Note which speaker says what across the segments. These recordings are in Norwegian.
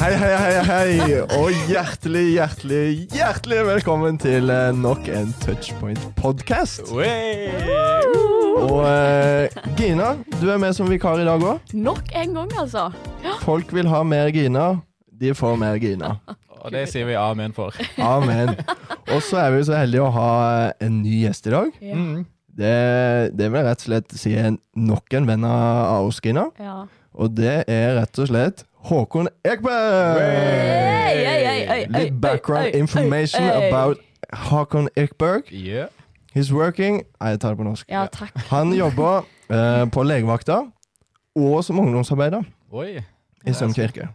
Speaker 1: Hei, hei, hei, hei, og hjertelig, hjertelig, hjertelig velkommen til eh, nok en Touchpoint-podkast. Og eh, Gina, du er med som vikar i dag òg.
Speaker 2: Nok en gang, altså.
Speaker 1: Folk vil ha mer Gina. De får mer Gina.
Speaker 3: Og det sier vi amen for.
Speaker 1: Amen. Og så er vi så heldige å ha eh, en ny gjest i dag.
Speaker 2: Ja.
Speaker 3: Mm.
Speaker 1: Det, det vil jeg rett og slett si er nok en venn av av oss, Gina.
Speaker 2: Ja.
Speaker 1: Og det er rett og slett Håkon Ekberg!
Speaker 3: Hey!
Speaker 2: Hey, hey, hey, hey, hey,
Speaker 1: Litt background
Speaker 2: hey, hey,
Speaker 1: information
Speaker 2: hey.
Speaker 1: about Håkon Ekberg.
Speaker 3: Yeah.
Speaker 1: He's working Nei, jeg tar det på norsk.
Speaker 2: Ja, takk.
Speaker 1: Han jobber eh, på legevakta og som ungdomsarbeider
Speaker 3: Oi.
Speaker 1: i Søm kirke.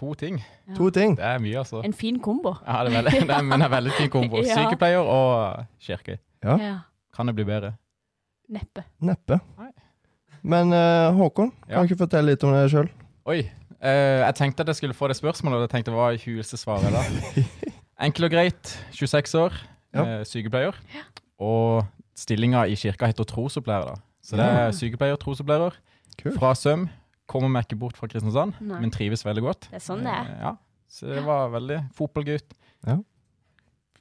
Speaker 3: To ting.
Speaker 2: Ja.
Speaker 1: To ting.
Speaker 3: Det er mye, altså.
Speaker 2: En fin kombo.
Speaker 3: Ja, det er veldig, det er, men det er veldig fin kombo.
Speaker 2: Ja.
Speaker 3: Sykepleier og kirke.
Speaker 1: Ja.
Speaker 3: Kan det bli bedre?
Speaker 2: Neppe.
Speaker 1: Neppe.
Speaker 3: Nei.
Speaker 1: Men eh, Håkon,
Speaker 3: Ja.
Speaker 1: kan ikke fortelle litt om deg sjøl?
Speaker 3: Oi. eh, jeg tenkte at jeg skulle få det spørsmålet, og jeg tenkte hva er tjueste svaret da? Enkelt og greit. 26 år,
Speaker 1: Ja.
Speaker 3: eh, sykepleier. Og stillinga i kirka heter trosopplærer, da. Så det
Speaker 1: Ja.
Speaker 3: er sykepleier, trosopplærer.
Speaker 1: Kult.
Speaker 3: Fra Søm. Kommer meg ikke bort fra Kristiansand,
Speaker 2: Nei.
Speaker 3: men trives veldig godt.
Speaker 2: Det er sånn det er.
Speaker 3: Eh, Ja. Så det var veldig fotballgutt.
Speaker 1: Ja.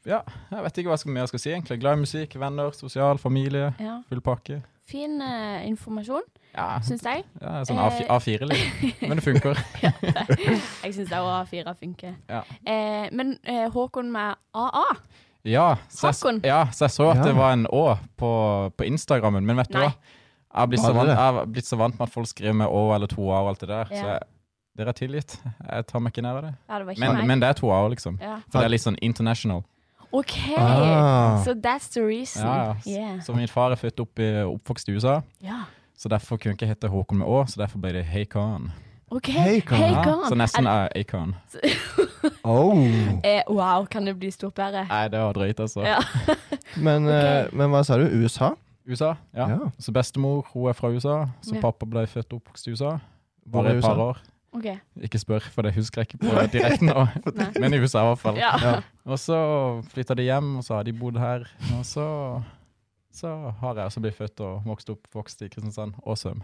Speaker 3: Ja, jeg vet ikke hva jeg skal- mer jeg skal si egentlig. Glad i musikk, venner, sosial, familie,
Speaker 2: Ja.
Speaker 3: full pakke.
Speaker 2: Fin eh, informasjon,
Speaker 3: Ja,
Speaker 2: syns jeg.
Speaker 3: ja sånn
Speaker 2: Eh.
Speaker 3: A4-liv. liksom. Men det funker.
Speaker 2: Jeg syns òg A4 funker.
Speaker 3: Ja.
Speaker 2: Eh, men eh, Håkon med AA
Speaker 3: Ja, så jeg,
Speaker 2: Håkon.
Speaker 3: ja, så jeg så at
Speaker 1: Ja.
Speaker 3: det var en Å på, på Instagrammen, men vet du
Speaker 2: Nei.
Speaker 3: hva? Jeg har blitt
Speaker 1: Var
Speaker 3: så vant,
Speaker 1: det
Speaker 3: jeg har blitt så vant med at folk skriver med Å eller to A og alt det der.
Speaker 2: Ja.
Speaker 3: Så jeg, dere er tilgitt. Jeg tar meg ikke nær av det.
Speaker 2: Ja, det var ikke
Speaker 3: Men,
Speaker 2: meg.
Speaker 3: men det er to A-er, liksom.
Speaker 2: ja.
Speaker 3: For det er litt sånn international.
Speaker 2: OK!
Speaker 1: Ah.
Speaker 2: So that's the reason.
Speaker 3: Ja, ja.
Speaker 2: Yeah.
Speaker 3: Så min far er født opp i, oppvokst i USA.
Speaker 2: ja.
Speaker 3: Så derfor kunne jeg ikke hete Håkon med Å, så derfor ble det Haycon.
Speaker 2: OK.
Speaker 1: Hey, Karen.
Speaker 2: Hey,
Speaker 3: Ja,
Speaker 2: Karen.
Speaker 3: Ah, så nesten
Speaker 2: Er-
Speaker 3: er Acon.
Speaker 1: Oh.
Speaker 2: eh, Wow, kan det bli stort bedre?
Speaker 3: Nei, det var drøyt, altså.
Speaker 2: Ja.
Speaker 1: Men, eh, men hva sa du? USA?
Speaker 3: USA, ja.
Speaker 1: Ja.
Speaker 3: Så bestemor, hun er fra USA. Så
Speaker 2: Ja.
Speaker 3: pappa ble født og oppvokst i USA.
Speaker 1: Hvor
Speaker 3: Bare
Speaker 1: er
Speaker 3: et par
Speaker 1: USA?
Speaker 3: år.
Speaker 2: OK.
Speaker 3: Ikke spør, for det husker jeg ikke på direkten nå.
Speaker 2: Nei.
Speaker 3: Men i USA i hvert fall.
Speaker 2: Ja.
Speaker 3: Og så flytta de hjem, og så har de bodd her. Og så, så har jeg også blitt født og vokst opp vokst i Kristiansand og Søm.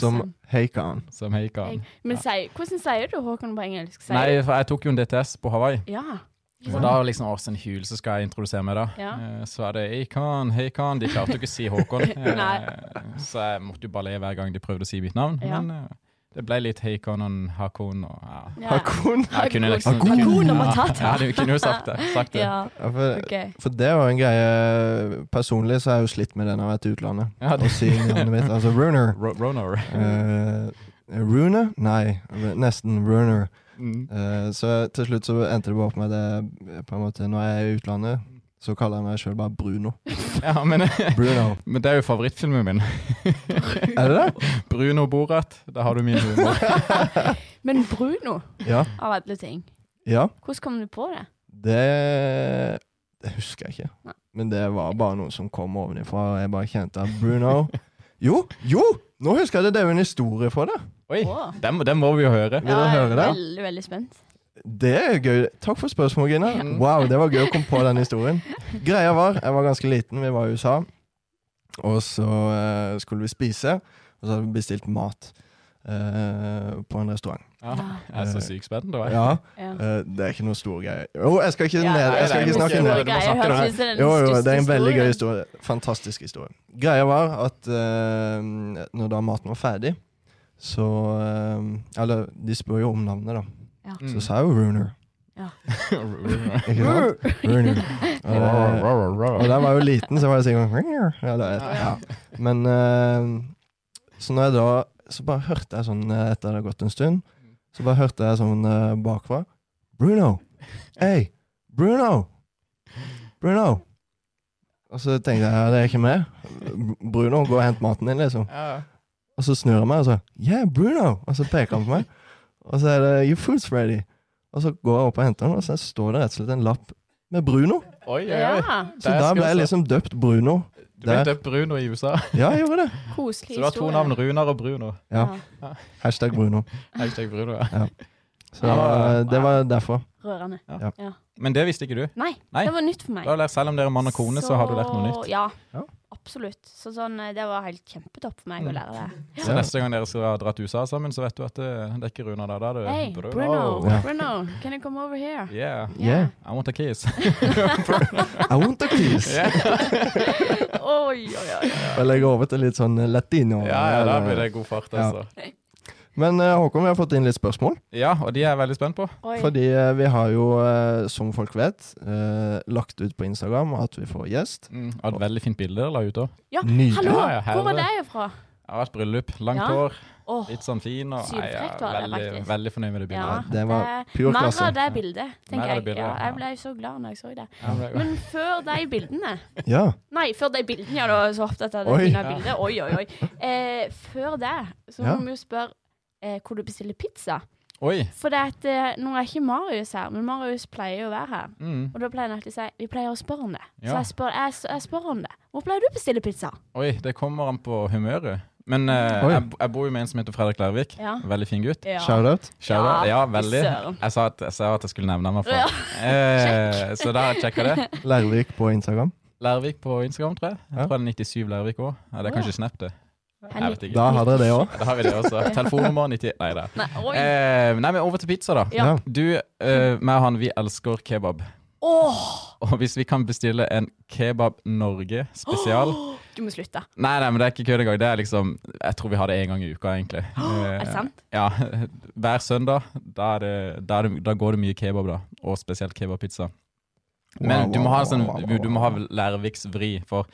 Speaker 1: Som Heikan.
Speaker 3: Som Heikan.
Speaker 2: Men si, hvordan sier du Håkon på engelsk? Sier
Speaker 3: Nei,
Speaker 2: du-
Speaker 3: for jeg tok jo en DTS på Hawaii.
Speaker 2: Ja.
Speaker 3: Og da var liksom Åsen Hyl som skal jeg introdusere meg, da.
Speaker 2: Ja.
Speaker 3: Eh, Så er det Acon, Haycon De klarte jo ikke å si Håkon. Eh,
Speaker 2: Nei.
Speaker 3: Så jeg måtte jo bare le hver gang de prøvde å si mitt navn.
Speaker 2: Ja.
Speaker 3: Men eh, det ble litt Haycon og Hakon og ja.
Speaker 2: ja.
Speaker 1: Hakon.
Speaker 3: Jeg kunne liksom
Speaker 1: Hakon.
Speaker 3: de kunne-
Speaker 2: Hakon og Matata.
Speaker 3: Ja, ja, de kunne jo sagt det. Sagt det. Ja.
Speaker 2: Ja,
Speaker 1: Ja, for,
Speaker 2: ok.
Speaker 1: for det var en greie Personlig så har jeg jo slitt med den når jeg har vært i utlandet.
Speaker 3: det-
Speaker 1: Å si navnet mitt. Altså Runer.
Speaker 3: Ro- Ronor.
Speaker 1: Eh, Runer? Nei, nesten Runer.
Speaker 3: Mm.
Speaker 1: Eh, så til slutt så endte det bare opp med det eh, på en måte, Når jeg er i utlandet, så kaller jeg meg sjøl bare Bruno.
Speaker 3: Ja, men,
Speaker 1: Bruno.
Speaker 3: men det er jo favorittfilmen min.
Speaker 1: Er det det?
Speaker 3: Bruno Borat. Der har du min humor.
Speaker 2: Men Bruno,
Speaker 1: Ja.
Speaker 2: av alle ting.
Speaker 1: ja.
Speaker 2: Hvordan kom du på det?
Speaker 1: Det, det husker jeg
Speaker 2: Nei.
Speaker 1: ikke. Men det var bare noe som kom ovenifra, og jeg bare kjente at Bruno Jo, jo! Nå husker jeg det. Det er jo en historie for det.
Speaker 3: Oi,
Speaker 2: Wow.
Speaker 3: den, må- den må vi jo høre.
Speaker 1: Vil dere høre det?
Speaker 2: Veldig, veldig spent.
Speaker 1: Det er gøy. Takk for spørsmålet, Gina.
Speaker 3: Mm.
Speaker 1: Wow, det var gøy å komme på den historien. Greia var, jeg var ganske liten, vi var i USA, og så eh, skulle vi spise, og så hadde vi bestilt mat eh, på en restaurant.
Speaker 3: Ja, jeg er så sykt spent. da, jeg.
Speaker 1: Ja,
Speaker 2: Ja.
Speaker 1: eh, det er ikke noe stor greie. Jo, jeg skal ikke,
Speaker 2: Ja,
Speaker 1: ned,
Speaker 3: nei,
Speaker 1: jeg skal
Speaker 3: nei,
Speaker 1: ikke
Speaker 3: men-
Speaker 1: snakke
Speaker 3: Store
Speaker 1: ned.
Speaker 3: Du må snakke
Speaker 2: Jeg
Speaker 3: om
Speaker 2: høres
Speaker 3: det.
Speaker 2: ut som den
Speaker 1: Jo, jo,
Speaker 2: største
Speaker 1: det er en veldig gøy
Speaker 2: historien.
Speaker 1: historie. Fantastisk historie. Greia var at eh, når da maten var ferdig, så eh, Eller de spør jo om navnet, da.
Speaker 3: Mm.
Speaker 1: Så sa jeg jo Runer.
Speaker 3: Ronor.
Speaker 1: Ikke sant? Runer.
Speaker 3: Rar,
Speaker 1: Og,
Speaker 3: rar, rar.
Speaker 1: og da var jeg jo liten, så var jeg sikkert «Runer», eller, et- ja. Men eh, så når jeg da Så bare hørte jeg sånn eh, etter det hadde gått en stund, så bare hørte jeg sånn eh, bakfra Bruno! Hei! Bruno! Bruno! Og så tenkte jeg ja, det er ikke meg. Br- Bruno, gå og hent maten din, liksom.
Speaker 3: Ja.
Speaker 1: Og så snur jeg meg og så Yeah, Bruno! Og så peker han på meg. Og så er det Your food's ready. Og så går jeg opp og henter den, og så står det rett og slett en lapp med Bruno.
Speaker 3: Oi, oi, oi.
Speaker 2: Ja,
Speaker 1: Så da ble jeg liksom døpt Bruno.
Speaker 3: Du ble
Speaker 1: Der.
Speaker 3: døpt Bruno i USA.
Speaker 1: Ja, jeg gjorde det.
Speaker 3: Så
Speaker 2: koselig
Speaker 3: du har to
Speaker 2: historie.
Speaker 3: navn, Runar og Bruno.
Speaker 1: Ja. Hashtag Bruno.
Speaker 3: Hashtag Bruno, ja.
Speaker 1: Ja. Så
Speaker 3: Ja, ja, ja.
Speaker 1: eh, det var derfor.
Speaker 2: Rørende.
Speaker 3: Men det visste ikke du.
Speaker 2: Nei,
Speaker 3: Nei.
Speaker 2: det var nytt for meg.
Speaker 3: Du har lært, selv om dere er mann og kone, så, har du lært noe nytt.
Speaker 2: Ja,
Speaker 1: Ja.
Speaker 2: absolutt. Så sånn, eh, det var helt kjempetopp for meg
Speaker 3: Mm.
Speaker 2: å lære det.
Speaker 3: Så
Speaker 1: Ja.
Speaker 3: neste gang dere skal ha dratt til USA sammen, så vet du at det, det er ikke Runa da. da er det
Speaker 2: Hey,
Speaker 3: Bruno.
Speaker 2: Bruno,
Speaker 1: Ja.
Speaker 2: Bruno, can you come over here?
Speaker 3: Yeah.
Speaker 1: Yeah.
Speaker 3: I want a kiss.
Speaker 1: I want a kiss!
Speaker 3: yeah.
Speaker 2: Oi, oi, oi.
Speaker 1: Jeg legger over til litt sånn latino.
Speaker 3: Ja, ja, da blir det god fart,
Speaker 1: Ja.
Speaker 3: altså.
Speaker 1: Men eh, Håkon, vi har fått inn litt spørsmål.
Speaker 3: Ja, og de er jeg veldig spent på.
Speaker 2: oi.
Speaker 1: Fordi eh, vi har jo, eh, som folk vet, eh, lagt ut på Instagram at vi får gjest.
Speaker 3: Mm. og Et veldig fint bilde dere la ut òg.
Speaker 2: Ja,
Speaker 1: Nydelig.
Speaker 2: hallo,
Speaker 3: Ja, ja, herre.
Speaker 2: hvor var deg fra?
Speaker 3: Jeg har vært bryllup. Langt
Speaker 2: Ja.
Speaker 3: hår,
Speaker 2: Åh,
Speaker 3: litt sånn fin. Og, Nei, jeg
Speaker 2: Sylfrekt
Speaker 3: er
Speaker 2: var det
Speaker 3: veldig,
Speaker 2: faktisk.
Speaker 3: veldig fornøyd med det
Speaker 2: ja.
Speaker 3: bildet.
Speaker 1: Det var
Speaker 2: eh,
Speaker 1: pure
Speaker 2: Mer
Speaker 1: klasse.
Speaker 2: av det bildet,
Speaker 3: Mer av
Speaker 2: tenker jeg.
Speaker 3: det bildet,
Speaker 2: ja,
Speaker 3: ja.
Speaker 2: jeg ble så glad når jeg så det.
Speaker 3: Ja, det er godt.
Speaker 2: Men før de bildene
Speaker 1: Ja.
Speaker 2: Nei, før de bildene, ja, da var jeg så opptatt av det
Speaker 1: Oi.
Speaker 2: fine
Speaker 3: Ja.
Speaker 2: bildet. Oi, oi, oi. Eh, før det, så
Speaker 1: Ja.
Speaker 2: må vi jo spørre eh, hvor du bestiller pizza.
Speaker 3: Oi!
Speaker 2: For det at, eh, nå er ikke Marius her, men Marius pleier jo å være her.
Speaker 3: Mm.
Speaker 2: Og da pleier han alltid å si vi pleier å spørre om det. Så
Speaker 3: Ja.
Speaker 2: jeg spør, jeg, jeg spør om det. Hvor pleier du å bestille pizza?
Speaker 3: Oi, det kommer an på humøret. Men eh,
Speaker 1: Oi.
Speaker 3: jeg, jeg bor jo med en som heter Fredrik Lærvik.
Speaker 2: Ja.
Speaker 3: Veldig fin gutt.
Speaker 1: Shout-out.
Speaker 3: Shout out. Ja,
Speaker 2: fy
Speaker 3: veldig.
Speaker 2: søren.
Speaker 3: Jeg sa, at, jeg sa at jeg skulle nevne meg for.
Speaker 2: Ja.
Speaker 3: Eh, så da sjekka jeg det.
Speaker 1: Lærvik på Instagram.
Speaker 3: Lærvik på Instagram, tror jeg.
Speaker 1: Ja.
Speaker 3: Jeg tror det er 97 Lærvik òg. Ja, det er kanskje Snap, det. Jeg vet ikke.
Speaker 1: Da har dere det òg.
Speaker 3: Da har vi det også. Telefonnummer 90 Nei da.
Speaker 2: Nei, oi.
Speaker 3: Eh, nei, men over til pizza, da.
Speaker 2: Ja.
Speaker 3: Du, eh, meg og han, vi elsker kebab.
Speaker 2: Åh,
Speaker 3: Og hvis vi kan bestille en Kebab Norge spesial
Speaker 2: du må slutte.
Speaker 3: Nei, nei, men det er ikke kødd engang. Det er liksom Jeg tror vi har det én gang i uka, egentlig.
Speaker 2: Er det
Speaker 3: Eh,
Speaker 2: sant?
Speaker 3: Ja, hver søndag. Da, er det, da, er det, da går det mye kebab, da. Og spesielt kebabpizza. Men
Speaker 1: Wow,
Speaker 3: du må ha,
Speaker 1: wow,
Speaker 3: sånn,
Speaker 1: wow, wow,
Speaker 3: du- du må ha
Speaker 1: wow.
Speaker 3: Lærviks vri, for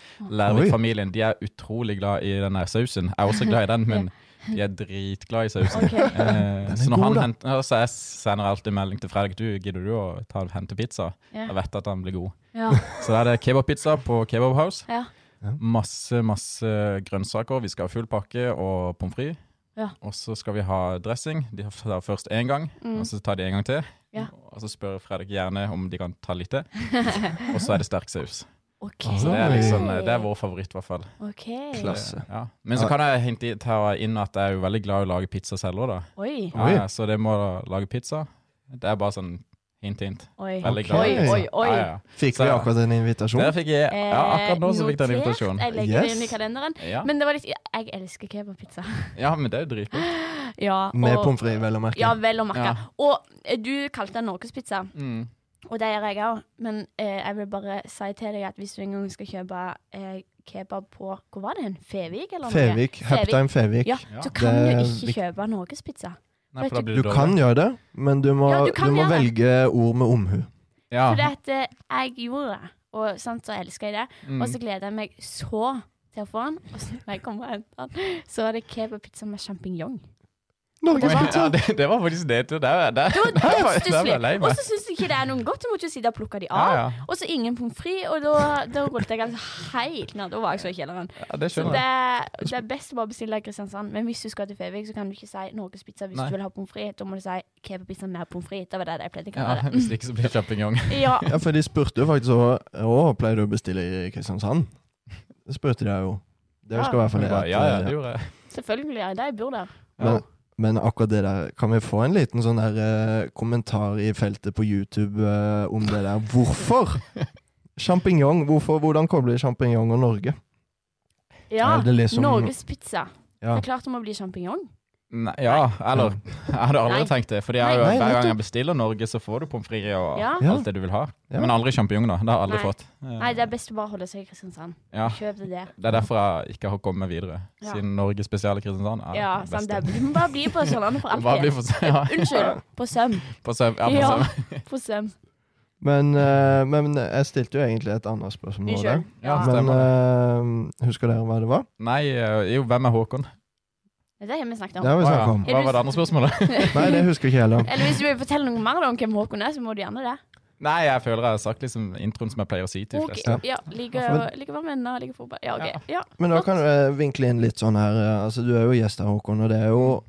Speaker 3: Lærvik-familien de er utrolig glad i den der sausen. Jeg er også glad i den, men de er dritglad i sausen.
Speaker 2: Ok.
Speaker 3: Eh, så
Speaker 1: er
Speaker 3: når
Speaker 1: god,
Speaker 3: han
Speaker 1: da.
Speaker 3: henter, ja, så jeg sender alltid melding til Fredrik du, gidder du å ta, hente pizza.
Speaker 2: Ja.
Speaker 3: Jeg vet at han blir god.
Speaker 2: Ja.
Speaker 3: Så da er det kebabpizza på Kebab House.
Speaker 2: Ja.
Speaker 1: Ja.
Speaker 3: Masse, masse grønnsaker. Vi skal ha full pakke og pommes frites.
Speaker 2: Ja.
Speaker 3: Og så skal vi ha dressing. De tar først én gang,
Speaker 2: Mm.
Speaker 3: og så tar de en gang til.
Speaker 2: Ja.
Speaker 3: Og så spør Fredrik gjerne om de kan ta litt til. og så er det sterk saus.
Speaker 2: OK.
Speaker 3: Så det er, liksom,
Speaker 2: Oi.
Speaker 3: det er vår favoritt, i hvert fall.
Speaker 2: OK.
Speaker 1: Klasse.
Speaker 3: Ja. Men så
Speaker 1: Ja.
Speaker 3: kan jeg hinte, ta inn at jeg er jo veldig glad i å lage pizza selv òg, da.
Speaker 2: Oi.
Speaker 1: Oi.
Speaker 3: Ja, så det må da lage pizza. Det er bare sånn hint, hint.
Speaker 2: Oi.
Speaker 3: Veldig
Speaker 1: Ok.
Speaker 3: glad i pizza.
Speaker 2: Oi, oi,
Speaker 3: Ja,
Speaker 2: oi.
Speaker 3: ja.
Speaker 1: Fikk
Speaker 3: Så-
Speaker 1: vi akkurat en invitasjon?
Speaker 3: Der fikk jeg, ja, akkurat nå så fikk jeg en
Speaker 2: Eh, notert.
Speaker 3: invitasjon.
Speaker 2: Jeg legger det inn i
Speaker 1: Yes.
Speaker 2: kalenderen.
Speaker 3: Ja.
Speaker 2: Men det var litt Jeg elsker kebabpizza.
Speaker 3: ja, men det er jo dritgodt.
Speaker 2: Ja,
Speaker 1: Med
Speaker 2: og-
Speaker 1: pommes frites, vel å merke.
Speaker 2: Ja, vel å merke.
Speaker 3: Ja.
Speaker 2: Og eh, du kalte den norgespizza.
Speaker 3: Mm.
Speaker 2: Og det gjør jeg òg, men eh, jeg vil bare si til deg at hvis du en gang skal kjøpe eh, kebab på Hvor var det hen? Fevik, eller noe?
Speaker 1: Fevik. Haptime Fevik.
Speaker 2: Ja,
Speaker 3: Ja.
Speaker 2: så kan
Speaker 1: Det er
Speaker 2: du ikke
Speaker 1: viktig.
Speaker 2: kjøpe norgespizza.
Speaker 3: Nei, for da blir
Speaker 1: Du
Speaker 3: det dårlig.
Speaker 1: kan gjøre det, men du må,
Speaker 2: Ja, du
Speaker 1: du
Speaker 2: kan
Speaker 1: må
Speaker 2: gjøre det.
Speaker 1: velge ord med omhu.
Speaker 3: ja.
Speaker 2: For det at eh, jeg gjorde det, og sant, så elsker jeg det.
Speaker 3: Mm.
Speaker 2: Og så gleder jeg meg så til å få den. Og så når jeg kommer og henter den, så er det kebabpizza med sjampinjong.
Speaker 3: Oi,
Speaker 1: Norgespizza!
Speaker 3: ja, det, det var faktisk det. Det der, der,
Speaker 2: Det var dødsstusslig!
Speaker 3: jeg lei
Speaker 2: Og
Speaker 3: meg.
Speaker 2: så syns jeg ikke det er noe godt, så måtte jeg sitte og plukke de
Speaker 3: Ja,
Speaker 2: av.
Speaker 3: ja.
Speaker 2: Og så ingen pommes frites, og da, da rullet jeg altså helt ned. Da var jeg så i kjelleren.
Speaker 3: ja, det
Speaker 2: Så
Speaker 3: skjønner
Speaker 2: det,
Speaker 3: jeg.
Speaker 2: det er best å bare bestille i Kristiansand. Men hvis du skal til Fevik, så kan du ikke si norgespizza hvis
Speaker 3: Nei.
Speaker 2: du vil ha pommes frites. Da må du si kebabpizza med pommes frites. Det var det jeg pleide å
Speaker 3: Ja,
Speaker 2: kalle det.
Speaker 3: hvis ikke så blir det kjøpingjong.
Speaker 2: Ja.
Speaker 1: Ja, for de spurte jo faktisk også Å, pleier du å bestille i Kristiansand? Det spurte de jo. Det
Speaker 2: Ja.
Speaker 1: skal i hvert fall
Speaker 3: Ja,
Speaker 1: at,
Speaker 3: ja,
Speaker 1: eh,
Speaker 3: det gjorde jeg.
Speaker 2: Selvfølgelig. Ja, de bor der.
Speaker 3: Ja.
Speaker 1: Men, men akkurat det der Kan vi få en liten sånn der eh, kommentar i feltet på YouTube eh, om det der? Hvorfor? Sjampinjong. Hvorfor- Hvordan kobler de sjampinjong og Norge?
Speaker 2: Ja.
Speaker 1: Er det liksom-
Speaker 2: Norgespizza.
Speaker 1: Ja.
Speaker 2: Det er klart det må bli sjampinjong.
Speaker 3: Nei, ja, eller Jeg hadde aldri
Speaker 2: Nei.
Speaker 3: tenkt det. Fordi jeg, har jo-
Speaker 1: Nei,
Speaker 3: hver gang
Speaker 1: nettopp.
Speaker 3: jeg bestiller Norge, så får du pommes frites og
Speaker 2: Ja.
Speaker 1: Ja.
Speaker 3: alt det du vil ha.
Speaker 1: Ja.
Speaker 3: Men aldri sjampinjong, da. Det har jeg aldri
Speaker 2: Nei.
Speaker 3: fått. Eh,
Speaker 2: Nei, det er best å bare holde seg i Kristiansand.
Speaker 3: ja.
Speaker 2: Kjøp det der.
Speaker 3: Det er derfor jeg ikke har kommet meg videre.
Speaker 2: Ja.
Speaker 3: Siden Norge spesial i Kristiansand er
Speaker 2: Ja,
Speaker 3: det
Speaker 2: sant
Speaker 3: beste.
Speaker 2: det. Du må bare bli på Sørlandet for
Speaker 3: Bare bli
Speaker 2: alltid.
Speaker 3: for ja.
Speaker 2: Unnskyld. På Søm.
Speaker 3: På søv, ja, på
Speaker 2: Ja,
Speaker 3: søv.
Speaker 2: på Søm.
Speaker 1: Men, eh, men jeg stilte jo egentlig et annet spørsmål. nå
Speaker 2: Unnskyld.
Speaker 1: der.
Speaker 3: Ja,
Speaker 2: Ja.
Speaker 1: Men
Speaker 3: stemmer.
Speaker 1: eh, husker dere hva det var?
Speaker 3: Nei, eh, jo, hvem er Håkon?
Speaker 2: Det har vi snakket
Speaker 1: Det
Speaker 2: om.
Speaker 1: har vi
Speaker 3: Å, ja.
Speaker 1: snakket om.
Speaker 3: Hva var det andre spørsmålet?
Speaker 1: Nei, det husker jeg ikke heller.
Speaker 2: Eller hvis du vil fortelle noe mer da om hvem Håkon er, så må du gjerne det.
Speaker 3: Nei, jeg føler jeg har sagt liksom introen som jeg pleier å si til de
Speaker 2: Ok,
Speaker 3: fleste.
Speaker 2: Ja, liker liker å være med venner, liker fotball. Ja, OK. Ja.
Speaker 1: Men da kan du eh, vinkle inn litt sånn her. eh, Altså, du er jo gjest her, Håkon, og det er jo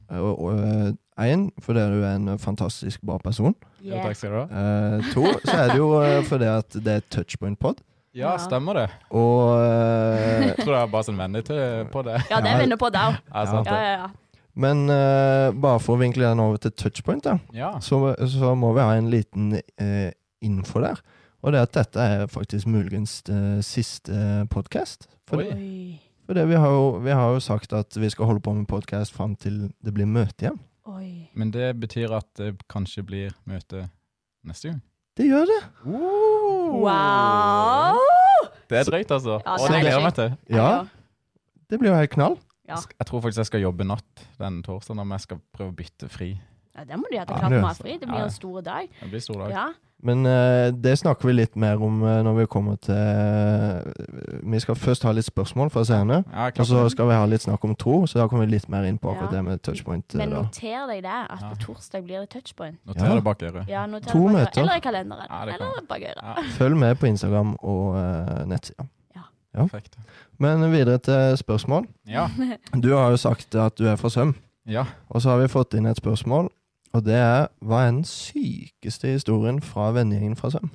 Speaker 1: én fordi du er en fantastisk bra person.
Speaker 3: Jo,
Speaker 2: Yeah.
Speaker 3: takk skal du ha.
Speaker 1: Eh, to, så er det jo eh, fordi at det er touchpoint-pod.
Speaker 3: Ja,
Speaker 2: Ja.
Speaker 3: stemmer det.
Speaker 1: Og eh,
Speaker 3: Jeg tror det Altså, er bare sånn vennlig til på det.
Speaker 2: Ja, det
Speaker 1: Ja.
Speaker 2: er venner på der.
Speaker 3: Ja, sant
Speaker 2: Ja,
Speaker 3: det.
Speaker 2: ja, ja.
Speaker 1: Men eh, bare for å vinkle den over til touchpoint, da,
Speaker 3: Ja.
Speaker 1: så, så må vi ha en liten eh, info der. Og det er at dette er faktisk muligens eh, siste podkast. For,
Speaker 3: Oi.
Speaker 2: Oi.
Speaker 1: for det, vi, har jo, vi har jo sagt at vi skal holde på med podkast fram til det blir møte igjen.
Speaker 2: Oi.
Speaker 3: Men det betyr at det kanskje blir møte neste gang.
Speaker 1: Det gjør det!
Speaker 2: Wow!
Speaker 3: Det er drøyt, altså.
Speaker 2: Ja,
Speaker 3: Og
Speaker 1: det
Speaker 3: det
Speaker 1: er
Speaker 3: gleder jeg
Speaker 2: drøyt.
Speaker 3: meg til.
Speaker 1: Ja,
Speaker 2: Ja.
Speaker 1: det blir jo helt knall.
Speaker 2: Ja.
Speaker 3: Sk- Jeg tror faktisk jeg skal jobbe natt den torsdagen, om jeg skal prøve å bytte fri.
Speaker 2: ja, det må de ha
Speaker 1: Ja,
Speaker 2: klart
Speaker 1: det er
Speaker 2: å ha
Speaker 1: sant.
Speaker 2: fri. Det
Speaker 3: Ja,
Speaker 2: blir
Speaker 3: ja.
Speaker 2: en stor dag.
Speaker 3: Det blir stor dag.
Speaker 2: Ja.
Speaker 1: Men eh, det snakker vi litt mer om eh, når vi kommer til eh, Vi skal først ha litt spørsmål fra seerne.
Speaker 3: Ja, jeg
Speaker 1: Og så
Speaker 3: klapper.
Speaker 1: skal vi ha litt snakk om tro, så da kommer vi litt mer inn på akkurat
Speaker 2: Ja.
Speaker 1: det med touchpoint. eh,
Speaker 2: Men
Speaker 1: Da.
Speaker 2: noter deg det, at
Speaker 3: Ja.
Speaker 2: på torsdag blir det touchpoint.
Speaker 3: Noter
Speaker 1: Ja.
Speaker 3: det bak øret.
Speaker 2: Ja, noter
Speaker 1: To
Speaker 2: det bak øret.
Speaker 1: møter.
Speaker 2: Eller i kalenderen.
Speaker 3: Ja, det kan
Speaker 2: Eller bak øret.
Speaker 3: Ja,
Speaker 1: Følg med på Instagram og eh, nettsida. Ja.
Speaker 3: perfekt.
Speaker 1: Men videre til spørsmål.
Speaker 3: Ja.
Speaker 1: Du har jo sagt at du er fra Søm,
Speaker 3: ja.
Speaker 1: og så har vi fått inn et spørsmål. Og det er hva er den sykeste historien fra vennegjengen fra Søm?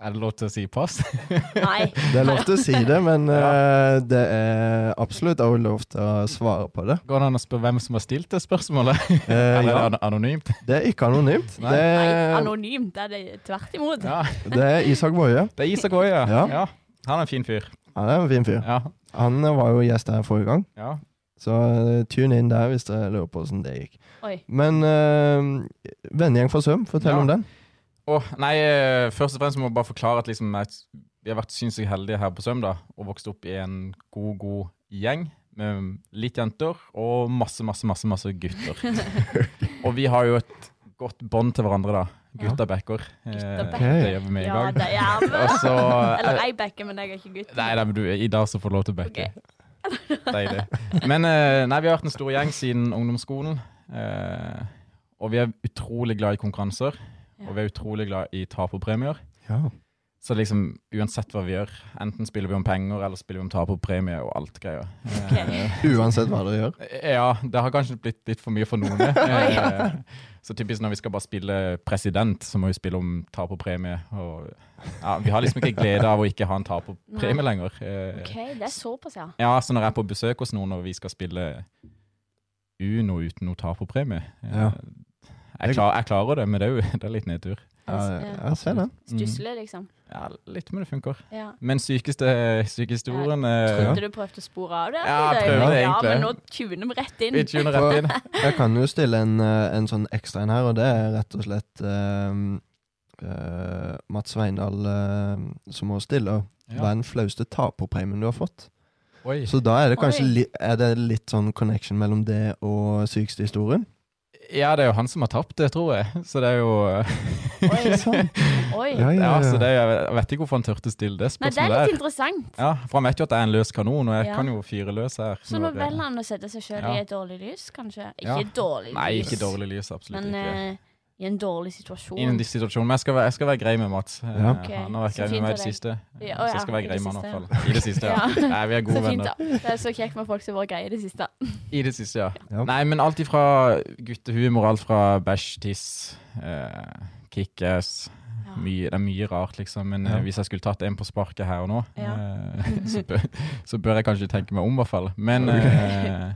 Speaker 3: Er det lov til å si pass?
Speaker 2: Nei.
Speaker 1: Det er lov til å si det, men eh, det er absolutt også lov til å svare på det.
Speaker 3: Går det an å spørre hvem som har stilt det spørsmålet?
Speaker 1: Eh,
Speaker 3: Eller
Speaker 1: ja,
Speaker 3: er det anonymt?
Speaker 1: det er ikke anonymt.
Speaker 3: Nei.
Speaker 1: Det,
Speaker 2: Nei,
Speaker 1: er-
Speaker 2: anonymt er det tvert imot.
Speaker 3: Ja.
Speaker 1: det er Isak Boje.
Speaker 3: Det er Isak Woie.
Speaker 1: Ja.
Speaker 3: Ja. Han er en fin fyr.
Speaker 1: Han er en fin fyr.
Speaker 3: Ja.
Speaker 1: Han eh, var jo gjest her forrige gang.
Speaker 3: ja.
Speaker 1: Så eh, tune inn der hvis dere lurer på hvordan det gikk.
Speaker 2: Oi.
Speaker 1: Men uh, vennegjeng fra Søm, fortell
Speaker 3: Ja.
Speaker 1: om den.
Speaker 3: Åh, nei, eh, først og fremst må jeg bare forklare at liksom, jeg, vi har vært sinnssykt heldige her på Søm da, og vokst opp i en god, god gjeng med litt jenter og masse, masse, masse, masse gutter. og vi har jo et godt bånd til hverandre da. Gutta backer. Eh,
Speaker 2: Gutta
Speaker 1: backer.
Speaker 3: Det gjør vi med
Speaker 2: Ja,
Speaker 3: i dag.
Speaker 2: det er vi.
Speaker 1: Altså,
Speaker 3: Og så...
Speaker 1: eh,
Speaker 2: Eller jeg backer, men jeg er ikke gutt.
Speaker 3: Nei, nei, men du, i dag så får du lov til å backe. Deilig. Men eh, nei, vi har vært en stor gjeng siden ungdomsskolen. eh, og vi er utrolig glad i konkurranser. Og vi er utrolig glad i taperpremier.
Speaker 1: Ja.
Speaker 3: Så liksom, uansett hva vi gjør, enten spiller vi om penger, eller spiller vi om taperpremie og alt greier. Eh,
Speaker 1: Uansett hva dere gjør.
Speaker 3: ja, det har kanskje blitt litt for mye for noen. Eh, så typisk når vi skal bare spille president, så må vi spille om taperpremie. Og, ja, vi har liksom ikke glede av å ikke ha en taperpremie lenger. Eh,
Speaker 2: OK, det er såpass, ja.
Speaker 3: Ja, så når jeg er på besøk hos noen og vi skal spille Uno uten noe taperpremie eh,
Speaker 1: Ja.
Speaker 3: jeg, klar, jeg klarer det, men det er jo det er litt nedtur. Mm.
Speaker 1: Ja,
Speaker 2: Ja.
Speaker 1: ja, se den.
Speaker 2: Stusslig, liksom.
Speaker 3: Ja, litt, men det funker.
Speaker 2: Ja.
Speaker 3: Men sykeste sykehistorien
Speaker 1: Ja.
Speaker 3: eh,
Speaker 2: Trodde du prøvde å spore av det?
Speaker 3: Ja,
Speaker 2: Det er jo-
Speaker 3: prøvde det
Speaker 2: Ja, men
Speaker 3: egentlig.
Speaker 2: nå tuner vi rett inn.
Speaker 3: Vi tuner rett inn.
Speaker 1: Jeg kan jo stille en, eh, en sånn ekstra en her, og det er rett og slett eh, eh, Mats Sveindal eh, som må stille. Hva
Speaker 3: Ja.
Speaker 1: er den flauste taperpremien du har fått?
Speaker 3: Oi.
Speaker 1: Så da er det kanskje
Speaker 2: Oi.
Speaker 1: li er det litt sånn connection mellom det og sykeste historien.
Speaker 3: Ja, det er jo han som har tapt det, tror jeg. Så det er jo
Speaker 2: Oi.
Speaker 1: sant?
Speaker 2: Oi.
Speaker 1: Ja, ja,
Speaker 3: ja, så det
Speaker 1: ja.
Speaker 3: er, jo- Jeg vet ikke hvorfor han tørte å stille det
Speaker 2: Nei, det
Speaker 3: spørsmålet.
Speaker 2: er
Speaker 3: Sånn
Speaker 2: litt
Speaker 3: der.
Speaker 2: interessant.
Speaker 3: Ja, For han vet jo at jeg er en løs kanon, og jeg
Speaker 2: Ja.
Speaker 3: kan jo fyre løs her.
Speaker 2: Så nå velger han å sette seg sjøl i et dårlig lys, kanskje.
Speaker 3: Sånn Ja.
Speaker 2: Ikke dårlig lys,
Speaker 3: Nei, ikke dårlig lys. Absolutt
Speaker 2: men
Speaker 3: ikke.
Speaker 2: eh, i en dårlig situasjon.
Speaker 3: Innen de situasjonen. Men jeg skal, være, jeg skal være grei med Mats. Eh,
Speaker 1: Ja.
Speaker 2: Ok,
Speaker 3: Han har vært
Speaker 2: så
Speaker 3: grei med
Speaker 2: fint
Speaker 3: meg i
Speaker 2: av
Speaker 3: det
Speaker 2: deg.
Speaker 3: siste.
Speaker 2: Ja,
Speaker 3: så
Speaker 2: ja,
Speaker 3: jeg skal være
Speaker 2: i
Speaker 3: grei
Speaker 2: det
Speaker 3: med han i
Speaker 2: siste,
Speaker 3: hvert fall. I det siste, ja.
Speaker 2: Ja.
Speaker 3: Nei, vi er
Speaker 2: Så
Speaker 3: gode
Speaker 2: fint,
Speaker 3: venner.
Speaker 2: da. Det er så kjekt med folk som har vært greie i det siste.
Speaker 3: I det siste, ja.
Speaker 1: Ja.
Speaker 3: Nei, men alt ifra guttehumor, alt fra bæsj, tiss, eh, kickass
Speaker 2: Ja.
Speaker 3: mye, Det er mye rart, liksom. Men
Speaker 1: Ja.
Speaker 3: eh, hvis jeg skulle tatt en på sparket her og nå,
Speaker 2: Ja.
Speaker 3: eh, så, bør, så bør jeg kanskje tenke meg om, i hvert fall. Men eh,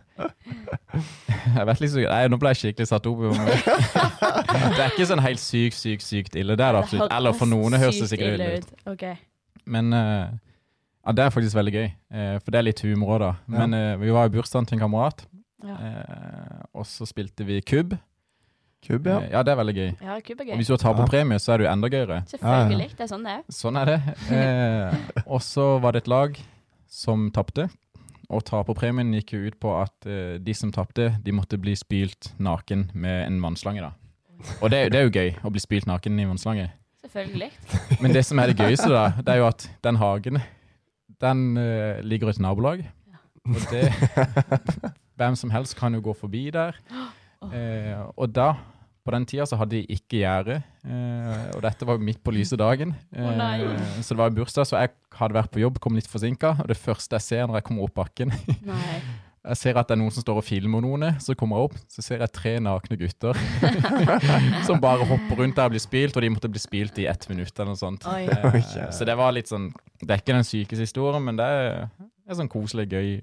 Speaker 3: jeg vet liksom, nei, Nå ble jeg skikkelig satt opp. i meg. det er ikke sånn helt sykt, sykt, sykt ille. Det er det absolutt. Eller for noen høres det
Speaker 2: sykt
Speaker 3: sikkert ille ut.
Speaker 2: Ok.
Speaker 3: Men eh, ja, det er faktisk veldig gøy, eh, for det er litt humor òg, da. Men eh, vi var i bursdagen til en kamerat,
Speaker 2: Ja.
Speaker 3: eh, og så spilte vi kubb.
Speaker 1: Kubb, ja.
Speaker 3: Eh, ja, det er veldig gøy.
Speaker 2: Ja, kubb er
Speaker 3: Og
Speaker 2: gøy.
Speaker 3: hvis du har taperpremie, så er det jo enda gøyere.
Speaker 2: Selvfølgelig. Det er sånn det er.
Speaker 3: Sånn er det. Eh, og så var det et lag som tapte, og taperpremien gikk jo ut på at eh, de som tapte, de måtte bli spylt naken med en vannslange, da. Og det, det er jo gøy, å bli spylt naken i vannslange.
Speaker 2: Selvfølgelig.
Speaker 3: Men det som er det gøyeste, da, det er jo at den hagen den eh, ligger i et nabolag. Og det Hvem som helst kan jo gå forbi der. Eh, og da, på den tida, så hadde de ikke gjerde. Eh, og dette var jo midt på lyse dagen. Eh,
Speaker 2: Å nei.
Speaker 3: så det var jo bursdag, så jeg hadde vært på jobb, kom litt forsinka. Og det første jeg ser når jeg kommer opp bakken,
Speaker 2: Nei.
Speaker 3: jeg ser at det er noen som står og filmer noen. eh, Så kommer jeg opp, så ser jeg tre nakne gutter som bare hopper rundt der og blir spilt, og de måtte bli spilt i ett minutt eller noe sånt.
Speaker 2: Oi.
Speaker 3: Eh, Så det var litt sånn Det er ikke den sykeste historien, men det er, det er sånn koselig, gøy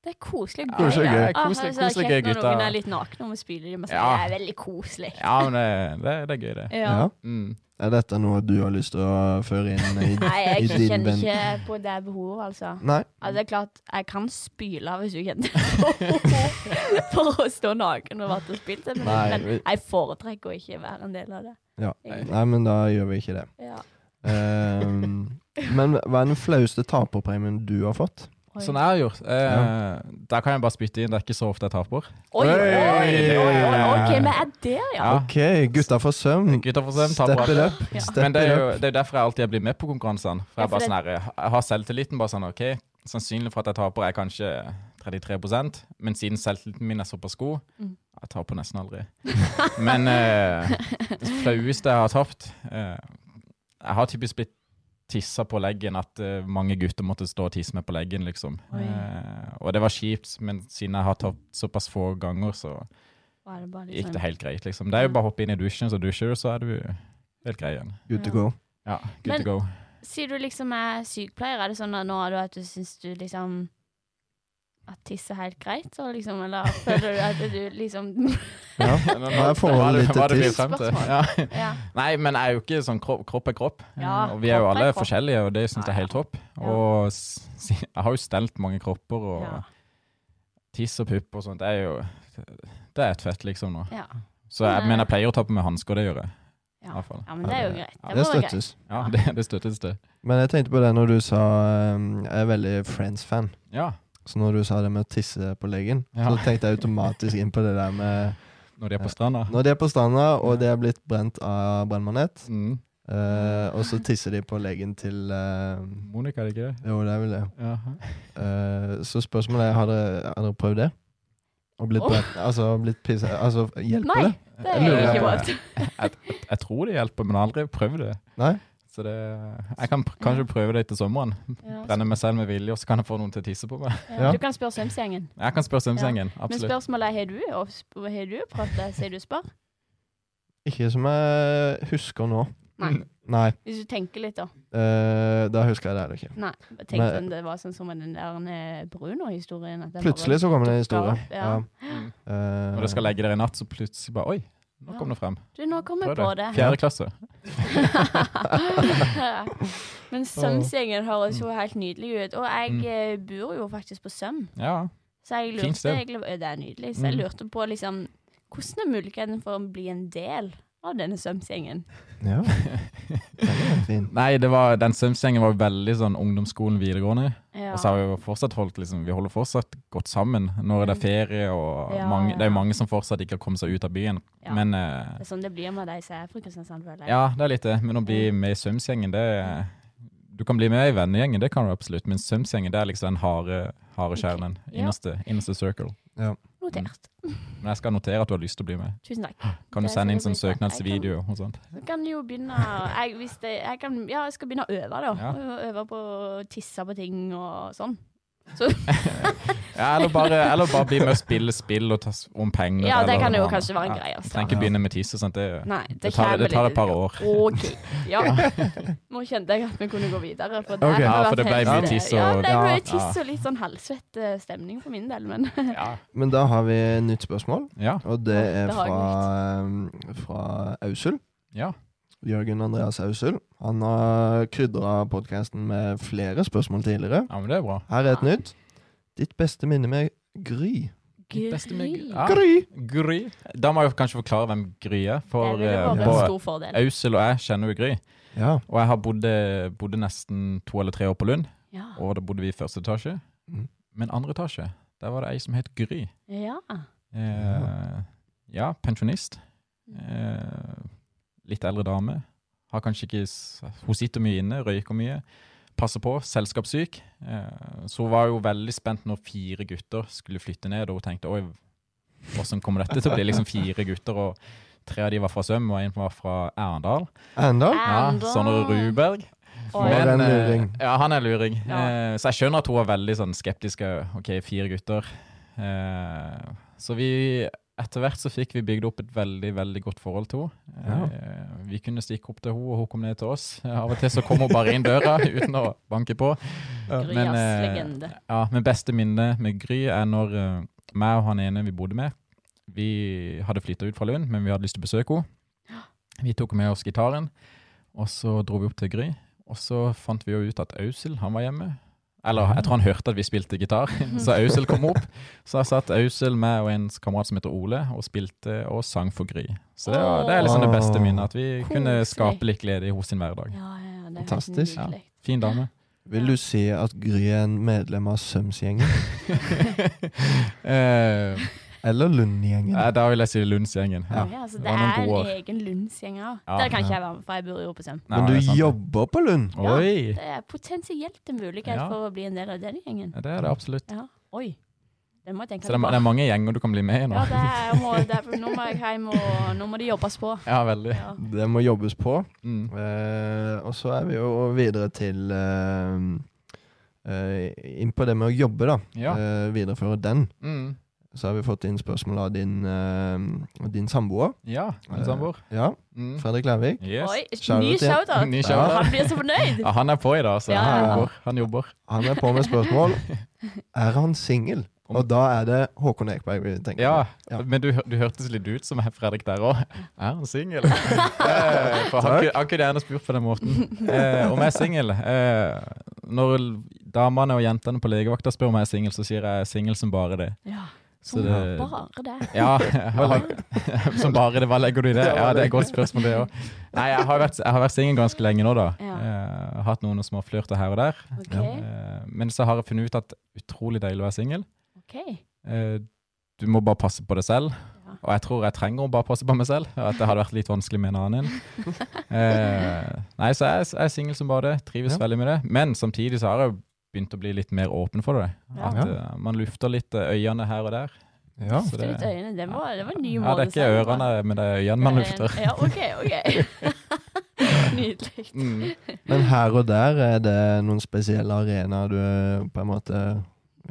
Speaker 2: Det er koselig og
Speaker 1: Koselig og gøy.
Speaker 2: Ah,
Speaker 3: Koselig-
Speaker 2: det er så
Speaker 3: koselig
Speaker 2: kjekt
Speaker 3: gøy,
Speaker 2: Når noen
Speaker 3: gutter.
Speaker 2: er litt nakne og vi spyler dem, og så
Speaker 3: Ja.
Speaker 2: det er veldig koselig.
Speaker 3: Ja, men det, det, det er gøy, det.
Speaker 2: Ja.
Speaker 1: Ja.
Speaker 3: Mm.
Speaker 1: Er dette noe du har lyst til å føre inn i,
Speaker 2: Nei,
Speaker 1: i
Speaker 2: jeg
Speaker 1: din
Speaker 2: kjenner
Speaker 1: band?
Speaker 2: ikke på det behovet, altså.
Speaker 1: Nei.
Speaker 2: Altså, det er klart, jeg kan spyle hvis du kjenner på behov for å stå naken og vært og spilt det, men,
Speaker 1: Nei,
Speaker 2: men
Speaker 1: vi-
Speaker 2: jeg foretrekker å ikke være en del av det.
Speaker 1: Ja.
Speaker 2: egentlig.
Speaker 1: Nei, men da gjør vi ikke det.
Speaker 2: Ja.
Speaker 1: Ehm, men hva er den flaueste taperpremien du har fått?
Speaker 2: Oi.
Speaker 3: Sånn jeg har gjort. Eh, Der kan jeg bare spytte inn. Det er ikke så ofte jeg taper.
Speaker 2: Oi, oi, oi, oi, oi. OK,
Speaker 3: Hey!
Speaker 2: vi er der, ja.
Speaker 3: Ja.
Speaker 1: OK, gutta får søvn.
Speaker 3: Gutta for søvn
Speaker 1: Step
Speaker 3: taper
Speaker 1: it
Speaker 3: alle.
Speaker 1: up.
Speaker 2: Ja.
Speaker 1: Step
Speaker 3: Men det er,
Speaker 1: it
Speaker 3: jo,
Speaker 1: up.
Speaker 3: det er jo derfor jeg alltid blir med på konkurransene. For
Speaker 2: Ja,
Speaker 3: jeg,
Speaker 2: for
Speaker 3: bare
Speaker 2: det-
Speaker 3: sånn her, jeg har selvtilliten bare sånn OK, sannsynlig for at jeg taper er kanskje 33 men siden selvtilliten min er såpass god,
Speaker 2: Mm.
Speaker 3: jeg taper nesten aldri. Men eh, det flaueste jeg har tapt eh, Jeg har typisk blitt tissa på leggen, at eh, mange gutter måtte stå og tisse meg på leggen, liksom.
Speaker 2: Oi.
Speaker 3: Eh, og det var kjipt, men siden jeg har tapt såpass få ganger, så
Speaker 2: Var det bare
Speaker 3: gikk
Speaker 2: liksom-
Speaker 3: det helt greit, liksom. Det er jo bare å hoppe inn i dusjen, så dusjer du, så er du helt grei igjen.
Speaker 1: Good to go.
Speaker 3: Ja, good
Speaker 2: Men-
Speaker 3: to go.
Speaker 2: Sier du liksom er sykepleier, er det sånn at nå er du at du syns du liksom At tiss er helt greit, så liksom? Eller føler du at du liksom
Speaker 1: Ja.
Speaker 3: Hva
Speaker 1: er forholdet ditt til
Speaker 3: hva er det vi
Speaker 1: tiss?
Speaker 3: er frem til?
Speaker 2: Spørsmål.
Speaker 3: Ja.
Speaker 2: Ja.
Speaker 3: Nei, men jeg er jo ikke sånn kropp, kropp er kropp.
Speaker 2: Ja,
Speaker 3: Eh, og vi er jo
Speaker 2: kropp er
Speaker 3: alle
Speaker 2: kropp.
Speaker 3: forskjellige, og det syns jeg er helt topp.
Speaker 2: Ja.
Speaker 3: Og s- si- jeg har jo stelt mange kropper, og
Speaker 2: Ja.
Speaker 3: tiss og pupp og sånt. Det er jo Det er et fett, liksom, nå.
Speaker 2: ja. eh,
Speaker 3: Så jeg, men jeg pleier å ta på meg hansker, det gjør jeg. I
Speaker 2: Ja.
Speaker 3: hvert fall.
Speaker 2: ja, men det er jo greit. Det,
Speaker 1: Det
Speaker 2: må være greit.
Speaker 1: støttes.
Speaker 3: Ja, det, det støttes, det.
Speaker 1: Men jeg tenkte på det når du sa ehm, Jeg er veldig Friends-fan.
Speaker 3: Ja,
Speaker 1: Så når du sa det med å tisse på leggen,
Speaker 3: Ja.
Speaker 1: så tenkte jeg automatisk inn på det der med
Speaker 3: når de er på stranda.
Speaker 1: Når de er på stranda, og de er blitt brent av brennmanet,
Speaker 3: Mm.
Speaker 1: eh, og så tisser de på leggen til eh,
Speaker 3: Monica, er det ikke det?
Speaker 1: Jo, det er vel det.
Speaker 3: Ja.
Speaker 1: Eh, så spørsmålet er, har dere, har dere prøvd det? Og blitt
Speaker 2: Åh.
Speaker 1: brent? Altså, blitt pisse, altså hjelper
Speaker 2: Nei,
Speaker 1: det?
Speaker 2: det
Speaker 1: Jeg
Speaker 2: er
Speaker 1: lurer
Speaker 2: ikke
Speaker 1: på-
Speaker 2: vårt.
Speaker 3: Jeg tror det hjelper, men jeg har aldri prøvd det.
Speaker 1: Nei?
Speaker 3: Så det, jeg kan pr kanskje prøve det til sommeren.
Speaker 2: Ja,
Speaker 3: Brenne meg selv med vilje, og så kan jeg få noen til å tisse på meg.
Speaker 1: Ja.
Speaker 2: Du kan spørre Sømsgjengen.
Speaker 3: Jeg kan spørre Sømsengen.
Speaker 2: Men
Speaker 3: Absolutt.
Speaker 2: spørsmålet er har du og sp- har du prøvd det, sier du spør?
Speaker 1: Ikke som jeg husker nå.
Speaker 2: Nei.
Speaker 1: Nei,
Speaker 2: Hvis du tenker litt, da.
Speaker 1: eh, da husker jeg det heller ikke.
Speaker 2: Nei. Jeg Tenkte om det var sånn som med den der eh, Bruno-historien. at den
Speaker 1: Plutselig så kommer det en historie.
Speaker 2: Dukker opp, ja.
Speaker 3: Mm.
Speaker 1: Eh,
Speaker 3: Når dere skal legge dere i natt, så plutselig bare Oi, nå kom det frem.
Speaker 2: bare- Du, nå kom jeg
Speaker 3: Prøv
Speaker 2: på
Speaker 3: det.
Speaker 2: det.
Speaker 3: Fjerde klasse.
Speaker 2: Men Sømsgjengen høres jo helt nydelig ut. Og jeg
Speaker 3: Mm.
Speaker 2: eh, bor jo faktisk på Søm,
Speaker 3: Ja.
Speaker 2: så jeg
Speaker 3: Fint
Speaker 2: lurte
Speaker 3: sted.
Speaker 2: egentlig eh, Det er nydelig. Så jeg
Speaker 3: Mm.
Speaker 2: lurte på liksom Hvordan er muligheten for å bli en del av denne Sømsgjengen?
Speaker 1: Ja. Den er helt fin.
Speaker 3: Nei, det var, den Sømsengen var veldig sånn ungdomsskolen, videregående.
Speaker 2: Ja.
Speaker 3: Og så har vi jo fortsatt holdt liksom, vi holder fortsatt godt sammen når det er ferie, og
Speaker 2: Mm. Ja,
Speaker 3: mange, det er
Speaker 2: ja.
Speaker 3: jo mange som fortsatt ikke har kommet seg ut av byen.
Speaker 2: Ja.
Speaker 3: Men eh,
Speaker 2: Det er sånn det blir med de som er fra Kristiansand, føler jeg.
Speaker 3: ja, det er litt det. Men å bli
Speaker 2: Mm.
Speaker 3: med i Sømsgjengen, det er- Du kan bli med i vennegjengen, det kan du absolutt, men Sømsgjengen det er liksom den harde, harde kjernen.
Speaker 2: Ja.
Speaker 3: Innerste, innerste circle.
Speaker 2: Notert.
Speaker 3: Men jeg skal notere at du har lyst til å bli med.
Speaker 2: Tusen takk.
Speaker 3: Kan du
Speaker 2: Det
Speaker 3: sende inn
Speaker 2: skal
Speaker 3: sånn
Speaker 2: jeg bli glad for. Jeg
Speaker 3: søknadsvideo og sånt?
Speaker 2: Du kan jo begynne jeg, hvis det, jeg kan, Ja, jeg skal begynne å øve, da.
Speaker 3: Ja.
Speaker 2: Øve på å tisse på ting og sånn. Så,
Speaker 3: Ja, eller bare, eller bare bli med og spille spill og ta s- om penger.
Speaker 2: ja, det
Speaker 3: eller
Speaker 2: kan
Speaker 3: noe
Speaker 2: jo
Speaker 3: annet.
Speaker 2: kanskje være en
Speaker 3: Ja,
Speaker 2: greie. Altså.
Speaker 3: Trenger ikke begynne med tisse. Sant? Det,
Speaker 2: Nei, det,
Speaker 3: det, tar,
Speaker 2: kommer
Speaker 3: det tar
Speaker 2: litt-
Speaker 3: et par år.
Speaker 2: OK. Ja. Nå kjente jeg at vi kunne gå videre. For det,
Speaker 1: Ok.
Speaker 2: har
Speaker 3: Ja, for
Speaker 2: vært
Speaker 3: det ble
Speaker 2: helt-
Speaker 3: mye tiss og-
Speaker 2: Ja, det ble
Speaker 3: Ja.
Speaker 2: tiss og litt sånn halvsvett eh, stemning for min del, men
Speaker 3: Ja.
Speaker 1: Men da har vi et nytt spørsmål,
Speaker 3: Ja.
Speaker 1: og det
Speaker 2: Å,
Speaker 1: er
Speaker 2: det har jeg
Speaker 1: fra, eh, fra Ausul.
Speaker 3: ja.
Speaker 1: Jørgen Andreas Ausul. Han har krydra podkasten med flere spørsmål tidligere.
Speaker 3: ja, men det er bra.
Speaker 1: Her er et nytt. Ditt beste minne med Gry.
Speaker 3: Mitt beste med Gry.
Speaker 2: Gry.
Speaker 3: Ja.
Speaker 1: Gry!
Speaker 3: Gry. Da må jeg jo kanskje forklare hvem Gry er. For
Speaker 2: det ville
Speaker 3: eh,
Speaker 2: vært en
Speaker 3: både
Speaker 2: stor fordel.
Speaker 3: Ausel og jeg kjenner jo Gry.
Speaker 1: Ja.
Speaker 3: Og jeg har bodd, eh, bodde nesten to eller tre år på Lund,
Speaker 2: Ja.
Speaker 3: og da bodde vi i første etasje.
Speaker 1: Mhm.
Speaker 3: Men andre etasje, der var det ei som het Gry.
Speaker 2: ja.
Speaker 3: Eh, ja, pensjonist. Eh, litt eldre dame. Har kanskje ikke s- Hun sitter mye inne, røyker mye. Passer på, selskapssyk. Eh, så hun var jo veldig spent når fire gutter skulle flytte ned, og hun tenkte oi, hvordan kommer dette til å bli? Liksom fire gutter, og tre av de var fra Søm, og en var fra Erendal.
Speaker 1: Enda?
Speaker 3: Ja, sånn
Speaker 2: Erndal.
Speaker 3: Sondre Ruberg.
Speaker 2: Oi.
Speaker 1: Men- Han
Speaker 3: eh,
Speaker 1: er en luring.
Speaker 3: ja, han er luring.
Speaker 2: Ja.
Speaker 3: Eh, så jeg skjønner at hun var veldig sånn, skeptisk. eh, OK, fire gutter. Eh, så vi Etter hvert så fikk vi bygd opp et veldig veldig godt forhold til henne. Eh, Vi kunne stikke opp til henne, og hun kom ned til oss. Eh, Av og til så kom hun bare inn døra uten å banke på.
Speaker 1: Ja,
Speaker 2: Gryas
Speaker 3: men, eh,
Speaker 2: legende.
Speaker 3: Ja, Men beste minne med Gry er når eh, meg og han ene vi bodde med, vi hadde flytta ut fra Lund, men vi hadde lyst til å besøke henne. Vi tok med oss gitaren, og så dro vi opp til Gry. Og så fant vi jo ut at Ausel han var hjemme. Eller jeg tror han hørte at vi spilte gitar, så Ausel kom opp. Så jeg satt Ausel med og en kamerat som heter Ole, og spilte og sang for Gry. Så det, var, det er liksom det beste minnet, at vi kunne
Speaker 2: Koselig.
Speaker 3: skape litt glede i hennes hverdag.
Speaker 2: Ja, ja, ja, det er
Speaker 1: Fantastisk.
Speaker 2: Helt nydelig.
Speaker 3: Fin dame.
Speaker 1: Vil du si at Gry er en medlem av Sømsgjengen?
Speaker 3: Eh,
Speaker 1: Eller Lundgjengen?
Speaker 3: Nei, da vil jeg si Lundsgjengen.
Speaker 2: Ja.
Speaker 3: Ja.
Speaker 2: så
Speaker 3: det
Speaker 2: det,
Speaker 3: var noen
Speaker 2: er
Speaker 3: gode
Speaker 2: en
Speaker 3: år.
Speaker 2: egen Lundsgjeng òg.
Speaker 3: Ja.
Speaker 2: Der kan ikke
Speaker 1: Ja.
Speaker 2: jeg være med, for jeg bor jo på Søm.
Speaker 1: Men
Speaker 3: Nei,
Speaker 1: du
Speaker 3: det er sant.
Speaker 1: jobber på Lund?
Speaker 2: Ja.
Speaker 3: Oi!
Speaker 2: Det er potensielt en mulighet
Speaker 3: Ja.
Speaker 2: for å bli en del av den gjengen.
Speaker 3: Ja, det er det absolutt.
Speaker 2: Ja. Oi. Det må jeg tenke
Speaker 3: Så det er,
Speaker 2: litt
Speaker 3: ma-
Speaker 2: på.
Speaker 3: det er mange gjenger du kan bli med i nå.
Speaker 2: Ja, det er, jeg må, det er, nå må jeg hjem, og nå må det jobbes på.
Speaker 3: Ja, veldig.
Speaker 2: Ja.
Speaker 1: Det må jobbes på.
Speaker 3: Mm.
Speaker 1: Eh, og så er vi jo videre til eh, eh, Inn på det med å jobbe, da.
Speaker 3: Ja.
Speaker 1: Eh, videreføre den.
Speaker 3: Mm.
Speaker 1: Så har vi fått inn spørsmål av din, eh, din samboer.
Speaker 3: Ja,
Speaker 1: eh,
Speaker 3: min samboer.
Speaker 1: Ja,
Speaker 3: Mm.
Speaker 1: Fredrik Lærvik.
Speaker 3: Yes.
Speaker 2: Oi,
Speaker 1: Shout-out
Speaker 2: ny
Speaker 1: til-
Speaker 2: shout-out!
Speaker 3: Ny
Speaker 1: Ja.
Speaker 3: kjører.
Speaker 2: Han blir så fornøyd!
Speaker 3: Ja, han er på i dag, altså.
Speaker 2: Ja,
Speaker 3: Han
Speaker 1: ja, ja.
Speaker 3: jobber. Han jobber.
Speaker 1: Han er på med spørsmål. Er han singel? Og da er det Håkon Ekberg vi tenker
Speaker 3: Ja,
Speaker 1: Ja.
Speaker 3: men du, hør- du hørtes litt ut som Fredrik der òg. Er han singel? Eh, for han, ku- han kunne gjerne spurt på den måten. Eh, om jeg er singel eh, Når l- damene og jentene på legevakta spør om jeg er singel, så sier jeg singel som bare det.
Speaker 2: Ja,
Speaker 3: Så
Speaker 2: det...
Speaker 3: det,
Speaker 2: Bare det.
Speaker 3: Eh, Ja, jeg har- som bare det. Hva legger du i det?
Speaker 1: Ja, hva
Speaker 3: Ja, Det er et
Speaker 1: legger-
Speaker 3: godt spørsmål, det òg. Nei, jeg har vært, jeg har vært singel ganske lenge nå, da.
Speaker 2: Ja.
Speaker 3: Eh, har hatt noen småflørter her og der.
Speaker 2: OK.
Speaker 3: Eh, men så har jeg funnet ut at utrolig deilig å være singel.
Speaker 2: ok.
Speaker 3: Eh, du må bare passe på deg selv.
Speaker 2: Ja.
Speaker 3: Og jeg tror jeg trenger å bare passe på meg selv, og at det hadde vært litt vanskelig med en annen. Eh, nei, så jeg, jeg er singel som bare det. Trives
Speaker 1: Ja.
Speaker 3: veldig med det. Men samtidig så har jeg begynt å bli litt mer åpen for det.
Speaker 2: Ja.
Speaker 3: At eh, man lufter litt eh, øynene her og der.
Speaker 1: Ja.
Speaker 3: Så
Speaker 2: Det,
Speaker 3: det-
Speaker 2: litt øyne. Det, var, det var en ny
Speaker 3: ja,
Speaker 2: måte
Speaker 3: det er ikke ørene, men det er øynene man lufter.
Speaker 2: Ja, OK, OK. Nydelig.
Speaker 3: Mm.
Speaker 1: Men her og der, er det noen spesielle arenaer du eh, på en måte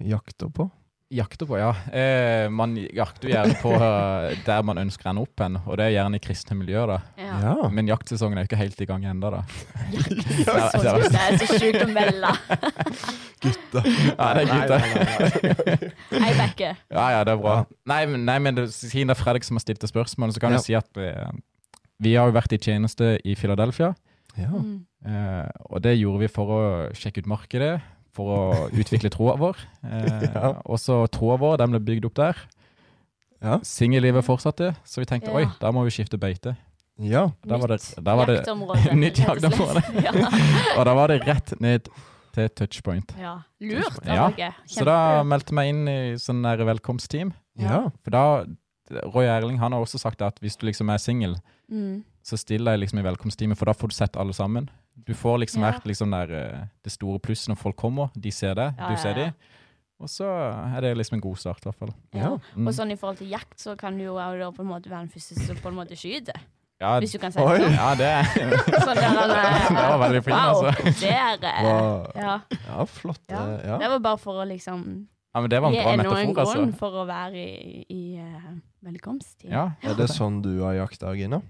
Speaker 1: jakter på?
Speaker 3: Jakter på, ja. Eh, man jakter jo gjerne på eh, der man ønsker å ende opp hen, og det er gjerne i kristne miljøer, da.
Speaker 2: Ja.
Speaker 3: Men jaktsesongen er jo ikke helt i gang ennå, da.
Speaker 2: Så
Speaker 3: det var-
Speaker 2: sjukt. Det er så sjukt å melde.
Speaker 3: Ja, det er
Speaker 1: Nei,
Speaker 3: gutta.
Speaker 1: nei, nei, nei.
Speaker 2: Jeg backer.
Speaker 3: Ja, ja, det er bra. Nei, men, nei, men det, siden det er Fredrik som har stilt det spørsmålet, så kan
Speaker 1: Ja.
Speaker 3: jeg si at eh, vi har jo vært i tjeneste i Philadelphia,
Speaker 1: Ja.
Speaker 2: Mm.
Speaker 3: eh, og det gjorde vi for å sjekke ut markedet, for å utvikle troa vår. Eh,
Speaker 1: Ja.
Speaker 3: Og så troa vår, den ble bygd opp der.
Speaker 1: Ja.
Speaker 3: Singellivet fortsatte, så vi tenkte
Speaker 2: Ja.
Speaker 3: oi, da må vi skifte beite.
Speaker 1: ja.
Speaker 3: Da var det,
Speaker 2: Nytt
Speaker 3: da var det
Speaker 2: jaktområde.
Speaker 3: Nytt
Speaker 2: rett og slett.
Speaker 3: jaktområde.
Speaker 2: Ja.
Speaker 3: Og da var det rett ned til touchpoint.
Speaker 2: ja. Lurt av
Speaker 3: Ja.
Speaker 2: dere.
Speaker 3: Så da
Speaker 2: Kjempelurt.
Speaker 3: meldte jeg meg inn i sånn der velkomstteam.
Speaker 1: ja.
Speaker 3: For da Roy Erling han har også sagt at hvis du liksom er singel,
Speaker 2: Mm.
Speaker 3: så still deg liksom i velkomstteamet, for da får du sett alle sammen. Du får liksom
Speaker 2: Ja.
Speaker 3: vært liksom der eh, det store plusset når folk kommer. De ser deg,
Speaker 2: Ja,
Speaker 3: du
Speaker 2: ja,
Speaker 3: ser
Speaker 2: ja.
Speaker 3: de. Og så er det liksom en god start, i hvert fall.
Speaker 2: Ja.
Speaker 3: Mm.
Speaker 2: Og sånn i forhold til jakt, så kan du jo også da på en måte være den første som på en måte skyter.
Speaker 3: Ja,
Speaker 2: Hvis du kan si
Speaker 1: Oi.
Speaker 2: det sånn.
Speaker 3: ja det,
Speaker 2: Sånn der, altså,
Speaker 3: det var veldig fint,
Speaker 2: wow,
Speaker 3: altså.
Speaker 2: der, eh,
Speaker 1: Hva-
Speaker 2: ja.
Speaker 1: ja, flott.
Speaker 2: Ja.
Speaker 1: eh, Ja.
Speaker 2: Det var bare for å liksom
Speaker 3: Ja, men det var
Speaker 2: gi
Speaker 3: en bra
Speaker 2: noen
Speaker 3: metafor, altså.
Speaker 2: grunn for å være i, i eh, velkomsttid.
Speaker 3: Ja.
Speaker 1: Er det sånn du har jakta, Gina?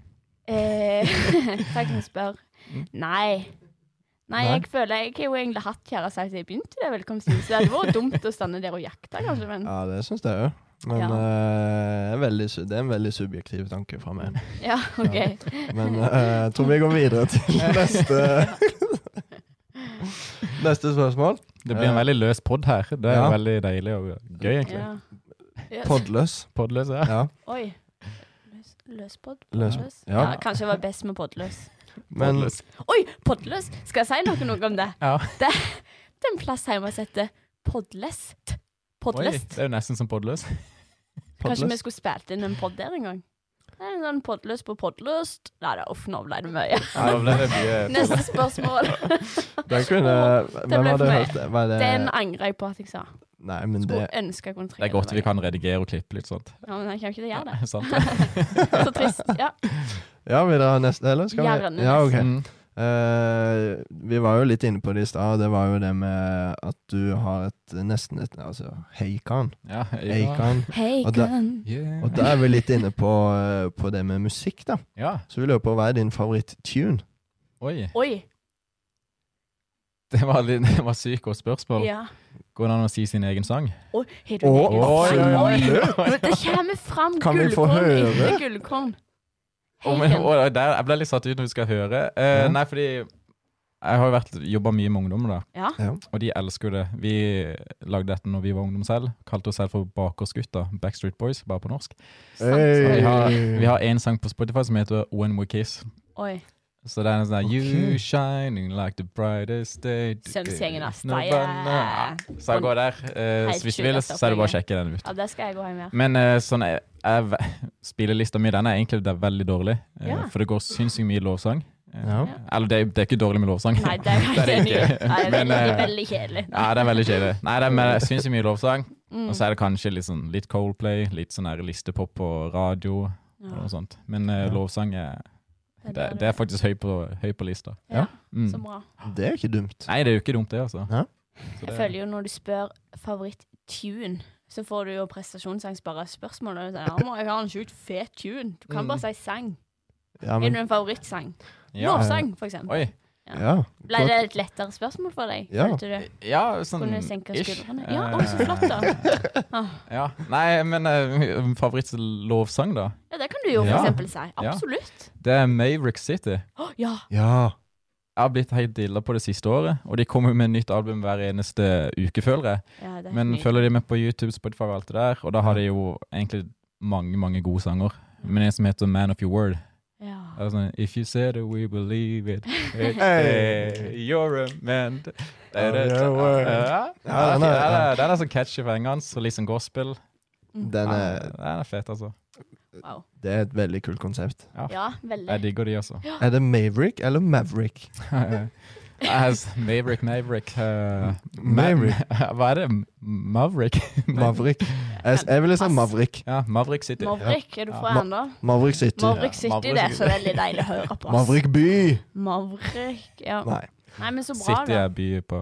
Speaker 2: Eh, takk for å spørre.
Speaker 3: Mm.
Speaker 2: Nei. Nei,
Speaker 1: Nei.
Speaker 2: jeg føler Jeg har jo egentlig hatt kjæreste siden jeg begynte i det velkomsthuset. Det hadde vært dumt å stande der og jakte, kanskje, men
Speaker 1: Ja, det syns jeg òg. Men
Speaker 2: Mm. Ja.
Speaker 1: eh, veldig, su- det er en veldig subjektiv tanke fra meg.
Speaker 2: Ja, OK.
Speaker 1: Men eh, jeg tror vi går videre til neste Neste spørsmål.
Speaker 3: Det blir en veldig løs pod her. Det er
Speaker 1: Ja.
Speaker 3: veldig deilig og gøy, egentlig.
Speaker 2: Ja. Ja,
Speaker 1: Podløs.
Speaker 3: Podløs, ja.
Speaker 1: Ja.
Speaker 2: Oi. Løs, løspod?
Speaker 1: Løs-
Speaker 2: Podløs?
Speaker 1: ja.
Speaker 2: kanskje jeg var best med podløs.
Speaker 1: Men
Speaker 3: Podløs.
Speaker 2: Oi, podløs! Skal jeg si noe, noe om det?
Speaker 3: Ja.
Speaker 2: Det, det er en plass hjemme som heter Podlest.
Speaker 3: Oi,
Speaker 2: Podlest.
Speaker 3: det er jo nesten som podløs.
Speaker 2: Kanskje vi
Speaker 1: podløs
Speaker 2: skulle spilt inn en pod der en gang? Det er en sånn podløs på podløst. Nei, det er off, nå ble det mye.
Speaker 3: Nå ble det mye-
Speaker 2: Neste spørsmål.
Speaker 1: Den kunne Hvem
Speaker 2: ble
Speaker 1: hadde
Speaker 2: for meg.
Speaker 1: hørt det? Var det
Speaker 2: Den angrer jeg på at jeg sa.
Speaker 1: Nei, men det
Speaker 2: Skulle ønske jeg kunne
Speaker 3: Det
Speaker 2: trykke
Speaker 3: er godt vi
Speaker 2: tilbake.
Speaker 3: kan redigere og klippe litt sånt.
Speaker 2: Ja, men jeg kan ikke gjøre det.
Speaker 3: Sant det?
Speaker 2: Så trist. Ja.
Speaker 1: Ja, vil dere ha neste, eller? Skal vi?
Speaker 2: Gjerne
Speaker 1: Ja, ok.
Speaker 3: Mm.
Speaker 1: Eh, Eh, vi var jo litt inne på det i stad, og det var jo det med at du har et nesten et altså, Heikan.
Speaker 3: Ja,
Speaker 1: Heikan.
Speaker 2: Hei,
Speaker 1: Og da-
Speaker 2: kan
Speaker 3: Yeah.
Speaker 1: Og da er vi litt inne på, eh, på det med musikk, da.
Speaker 3: ja.
Speaker 1: Så vi lurer på hva er din favoritt-tune?
Speaker 3: Oi.
Speaker 2: Oi!
Speaker 3: Det var, litt- det var sykt godt spørsmål.
Speaker 2: Ja.
Speaker 3: Går det an å si sin egen sang?
Speaker 2: Oi, har du
Speaker 1: Å,
Speaker 2: det?
Speaker 1: oi, oi, oi.
Speaker 2: Nå, Det kommer fram
Speaker 1: Kan vi få
Speaker 2: gullkorn
Speaker 1: høre?
Speaker 2: etter gullkorn.
Speaker 3: Å, men,
Speaker 2: Heiken.
Speaker 3: å, der, jeg ble litt satt ut når vi skal høre. Eh,
Speaker 1: Ja.
Speaker 3: Nei, fordi jeg har jo jobba mye med ungdom, da.
Speaker 2: Ja.
Speaker 1: Ja.
Speaker 3: og de elsker jo det. Vi lagde dette når vi var ungdom selv. Kalte oss selv for Bakgårdsgutta. Backstreet Boys, bare på norsk.
Speaker 1: Hey.
Speaker 3: Så vi
Speaker 2: Sant.
Speaker 3: har- Vi har én sang på Spotify som heter When We Kiss.
Speaker 2: Oi.
Speaker 3: Så det er en sånn der
Speaker 1: Ok.
Speaker 3: You shining like the brightest day
Speaker 2: Søndagsgjengen, ass.
Speaker 3: No,
Speaker 2: Nei,
Speaker 3: but
Speaker 2: eh,
Speaker 3: no. Så jeg går der. Eh,
Speaker 2: Helt
Speaker 3: så hvis du
Speaker 2: sjukt,
Speaker 3: vil,
Speaker 2: ass,
Speaker 3: så er det bare å sjekke den ut.
Speaker 2: Ja, det skal jeg gå hjem med.
Speaker 3: Men eh, sånn jeg, jeg, Spillelista mi den er egentlig det er veldig dårlig, eh,
Speaker 2: Ja.
Speaker 3: for det går sinnssykt mye lovsang. Eh,
Speaker 1: Ja.
Speaker 3: Eller det, er- det er ikke dårlig med lovsang.
Speaker 2: Nei, det er jeg
Speaker 3: Det er det
Speaker 2: enig i.
Speaker 3: ikke.
Speaker 2: Nei, Det er
Speaker 3: Men,
Speaker 2: veldig,
Speaker 3: eh,
Speaker 2: veldig kjedelig.
Speaker 3: Ja, det er veldig kjedelig. Nei, det er med- sinnssykt mye lovsang.
Speaker 2: Mm.
Speaker 3: Og så er det kanskje litt, sånn, litt Coldplay, litt sånn der listepop på radio og noe
Speaker 2: Ja,
Speaker 3: sånt. Men eh,
Speaker 1: Ja.
Speaker 3: lovsang er,
Speaker 2: det
Speaker 3: det, det er faktisk høy på, høy på lista.
Speaker 1: Ja.
Speaker 3: Mm.
Speaker 2: Så bra.
Speaker 1: Det er ikke dumt.
Speaker 3: Nei, det er jo ikke dumt, det, altså.
Speaker 1: Nei.
Speaker 3: Så
Speaker 2: Jeg
Speaker 3: det-
Speaker 2: føler jo når du spør favoritt-tune, så får du jo prestasjonsangst bare av spørsmål. Og du sier, ja, må jeg har en sjukt fet tune. Du kan
Speaker 3: Mm.
Speaker 2: bare si sang.
Speaker 1: Ja,
Speaker 2: Er du
Speaker 1: men,
Speaker 2: en favorittsang?
Speaker 3: ja.
Speaker 2: Lovsang, for eksempel.
Speaker 3: Oi.
Speaker 1: ja.
Speaker 2: Ble det et lettere spørsmål for deg?
Speaker 1: Ja.
Speaker 2: Følte du?
Speaker 3: Ja, sånn
Speaker 2: Kunne du senke
Speaker 3: ish.
Speaker 2: skuldrene? Ja,
Speaker 3: Eh,
Speaker 2: å, så flott, da. Ah.
Speaker 3: Ja. Nei, men uh, favorittlovsang, da?
Speaker 2: Ja, det kan du jo for
Speaker 3: Ja.
Speaker 2: eksempel si. Absolutt.
Speaker 3: Det er Maverick City.
Speaker 2: Å, ja.
Speaker 1: Ja.
Speaker 3: Jeg har blitt helt dilla på det siste året, og de kommer jo med nytt album hver eneste uke, føler jeg.
Speaker 2: ja det er
Speaker 3: Men
Speaker 2: helt
Speaker 3: følger de med på YouTube, Spotify og alt det der, og da har de jo egentlig mange, mange gode sanger. Men en som heter Man of Your Word.
Speaker 2: nydelig. ja.
Speaker 3: Det er sånn If you said it, we believe it. Hey,
Speaker 1: Hey.
Speaker 3: you're a man.
Speaker 1: Of your word.
Speaker 3: Ja,
Speaker 1: Ja, den er-
Speaker 3: den er- den er så catchy for engene, så litt sånn gospel.
Speaker 1: Den
Speaker 3: Ja,
Speaker 1: er,
Speaker 3: Den er fet, altså.
Speaker 2: Mm. Wow.
Speaker 1: det er et veldig kult konsept.
Speaker 2: Ja,
Speaker 3: Jeg
Speaker 2: veldig.
Speaker 3: digger de, altså.
Speaker 1: Er det Maverick eller Maverick?
Speaker 3: As Maverick, Maverick eh,
Speaker 1: Maverick.
Speaker 3: Ma- Hva er det? Maverick?
Speaker 1: Maverick. Jeg, jeg ville
Speaker 3: liksom
Speaker 1: sagt Maverick.
Speaker 3: Ja, Maverick City.
Speaker 2: Maverick, er du fra
Speaker 1: Ma-
Speaker 2: ennå?
Speaker 1: Maverick City.
Speaker 2: Maverick City,
Speaker 3: Maverick
Speaker 2: det er
Speaker 3: City.
Speaker 2: så veldig deilig å høre på. ass.
Speaker 1: Maverick by!
Speaker 2: Maverick, ja.
Speaker 1: Nei.
Speaker 2: Nei, men så bra,
Speaker 3: City
Speaker 2: da.
Speaker 3: er by på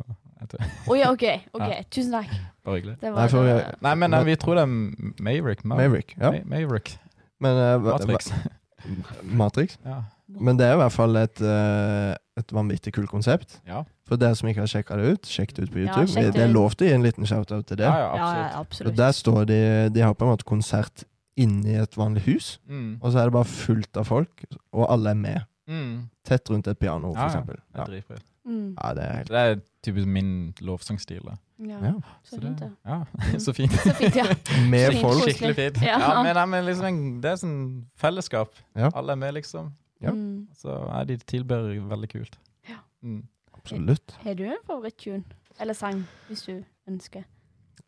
Speaker 2: Å ja, OK. ok, Tusen takk.
Speaker 3: Bare hyggelig.
Speaker 2: Det
Speaker 1: Nei,
Speaker 2: var
Speaker 1: for-
Speaker 2: det.
Speaker 3: Nei, men eh, vi tror det er M- Maverick. Ma-
Speaker 1: Maverick. Ja.
Speaker 3: Ma- Maverick.
Speaker 1: Men, eh, hva-
Speaker 3: Matrix.
Speaker 1: hva- Matrix.
Speaker 3: Ja.
Speaker 1: Men det er i hvert fall et, eh, et vanvittig kult konsept.
Speaker 3: Ja.
Speaker 1: For dere som ikke har sjekka det ut, sjekk det ut på YouTube.
Speaker 2: sjekk det
Speaker 1: det, det er
Speaker 2: ut.
Speaker 1: lov til å gi en liten shout-out til det.
Speaker 3: ja, ja,
Speaker 2: Ja, ja,
Speaker 3: absolutt.
Speaker 1: Og
Speaker 2: absolutt.
Speaker 1: der står de De har på en måte konsert inni et vanlig hus,
Speaker 3: Mm.
Speaker 1: og så er det bare fullt av folk, og alle er med.
Speaker 3: Mm.
Speaker 1: Tett rundt et piano,
Speaker 3: Ja, ja.
Speaker 1: for eksempel.
Speaker 3: Det er
Speaker 1: Ja.
Speaker 3: dritfett.
Speaker 2: Mm.
Speaker 1: ja, det er helt
Speaker 3: Så Det er typisk min lovsangstil. da.
Speaker 2: Ja,
Speaker 1: ja.
Speaker 2: så fint, da.
Speaker 3: Ja,
Speaker 2: Mm.
Speaker 3: så fint.
Speaker 2: Så fint, ja.
Speaker 1: Med
Speaker 2: Fint
Speaker 1: folk.
Speaker 2: koselig.
Speaker 3: Skikkelig fint.
Speaker 2: Ja.
Speaker 3: Ja, men, nei, men liksom en, det er sånn fellesskap.
Speaker 1: Ja.
Speaker 3: Alle er med, liksom.
Speaker 1: Ja.
Speaker 2: Mm.
Speaker 3: Så ja, de tilbyr veldig kult.
Speaker 2: Ja.
Speaker 3: Mm.
Speaker 1: Absolutt.
Speaker 2: Har du en favoritt-tune? Eller sang, hvis du ønsker.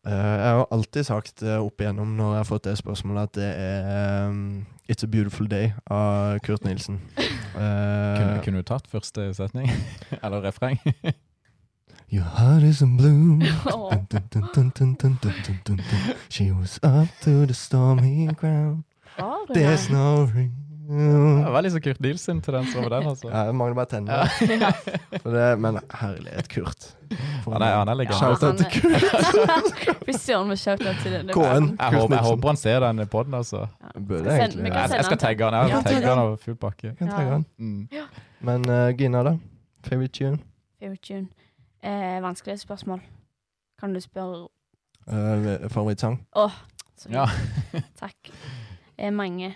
Speaker 1: Eh, jeg har jo alltid sagt eh, opp igjennom når jeg har fått det spørsmålet, at det er ehm, It's a Beautiful Day av Kurt Nilsen. Eh,
Speaker 3: Kunne, kunne du tatt første setning? Eller refreng?
Speaker 1: Your heart is in bloom.
Speaker 2: Åh.
Speaker 1: Dun, dun, dun, dun, dun, dun, dun, dun, dun. She was up to the stormy ground.
Speaker 2: Har du
Speaker 1: There's
Speaker 2: den?
Speaker 1: no ring.
Speaker 3: Det var litt så Kurt Nilsen til den som var den, altså.
Speaker 1: Ja, jeg mangler bare tennene. For det, men herlighet, Kurt. For
Speaker 3: Han er,
Speaker 1: en-
Speaker 3: han er
Speaker 2: Ja,
Speaker 3: legende.
Speaker 1: Shout out til
Speaker 2: han er- Fy søren, vi shout out til denne.
Speaker 1: Kåren.
Speaker 2: verden.
Speaker 1: Kurt
Speaker 3: Jeg håper, jeg
Speaker 1: Nilsen.
Speaker 3: håper han ser den podden, altså.
Speaker 1: Burde
Speaker 2: Send-
Speaker 1: egentlig
Speaker 2: vi kan
Speaker 1: ja.
Speaker 3: Jeg,
Speaker 2: sende
Speaker 3: jeg skal
Speaker 2: den til-
Speaker 3: tagge han. Jeg
Speaker 2: Ja,
Speaker 3: vil
Speaker 1: tagge
Speaker 3: tagge han over full pakke.
Speaker 1: Jeg kan ta
Speaker 2: Ja.
Speaker 1: den.
Speaker 3: Mm.
Speaker 1: Men eh, Gina, da? Favorite tune?
Speaker 2: Favorite tune. Eh, vanskelig spørsmål. Kan du spørre
Speaker 1: Eh, favorittsang?
Speaker 2: så
Speaker 3: Ja.
Speaker 2: Takk. Eh, mange.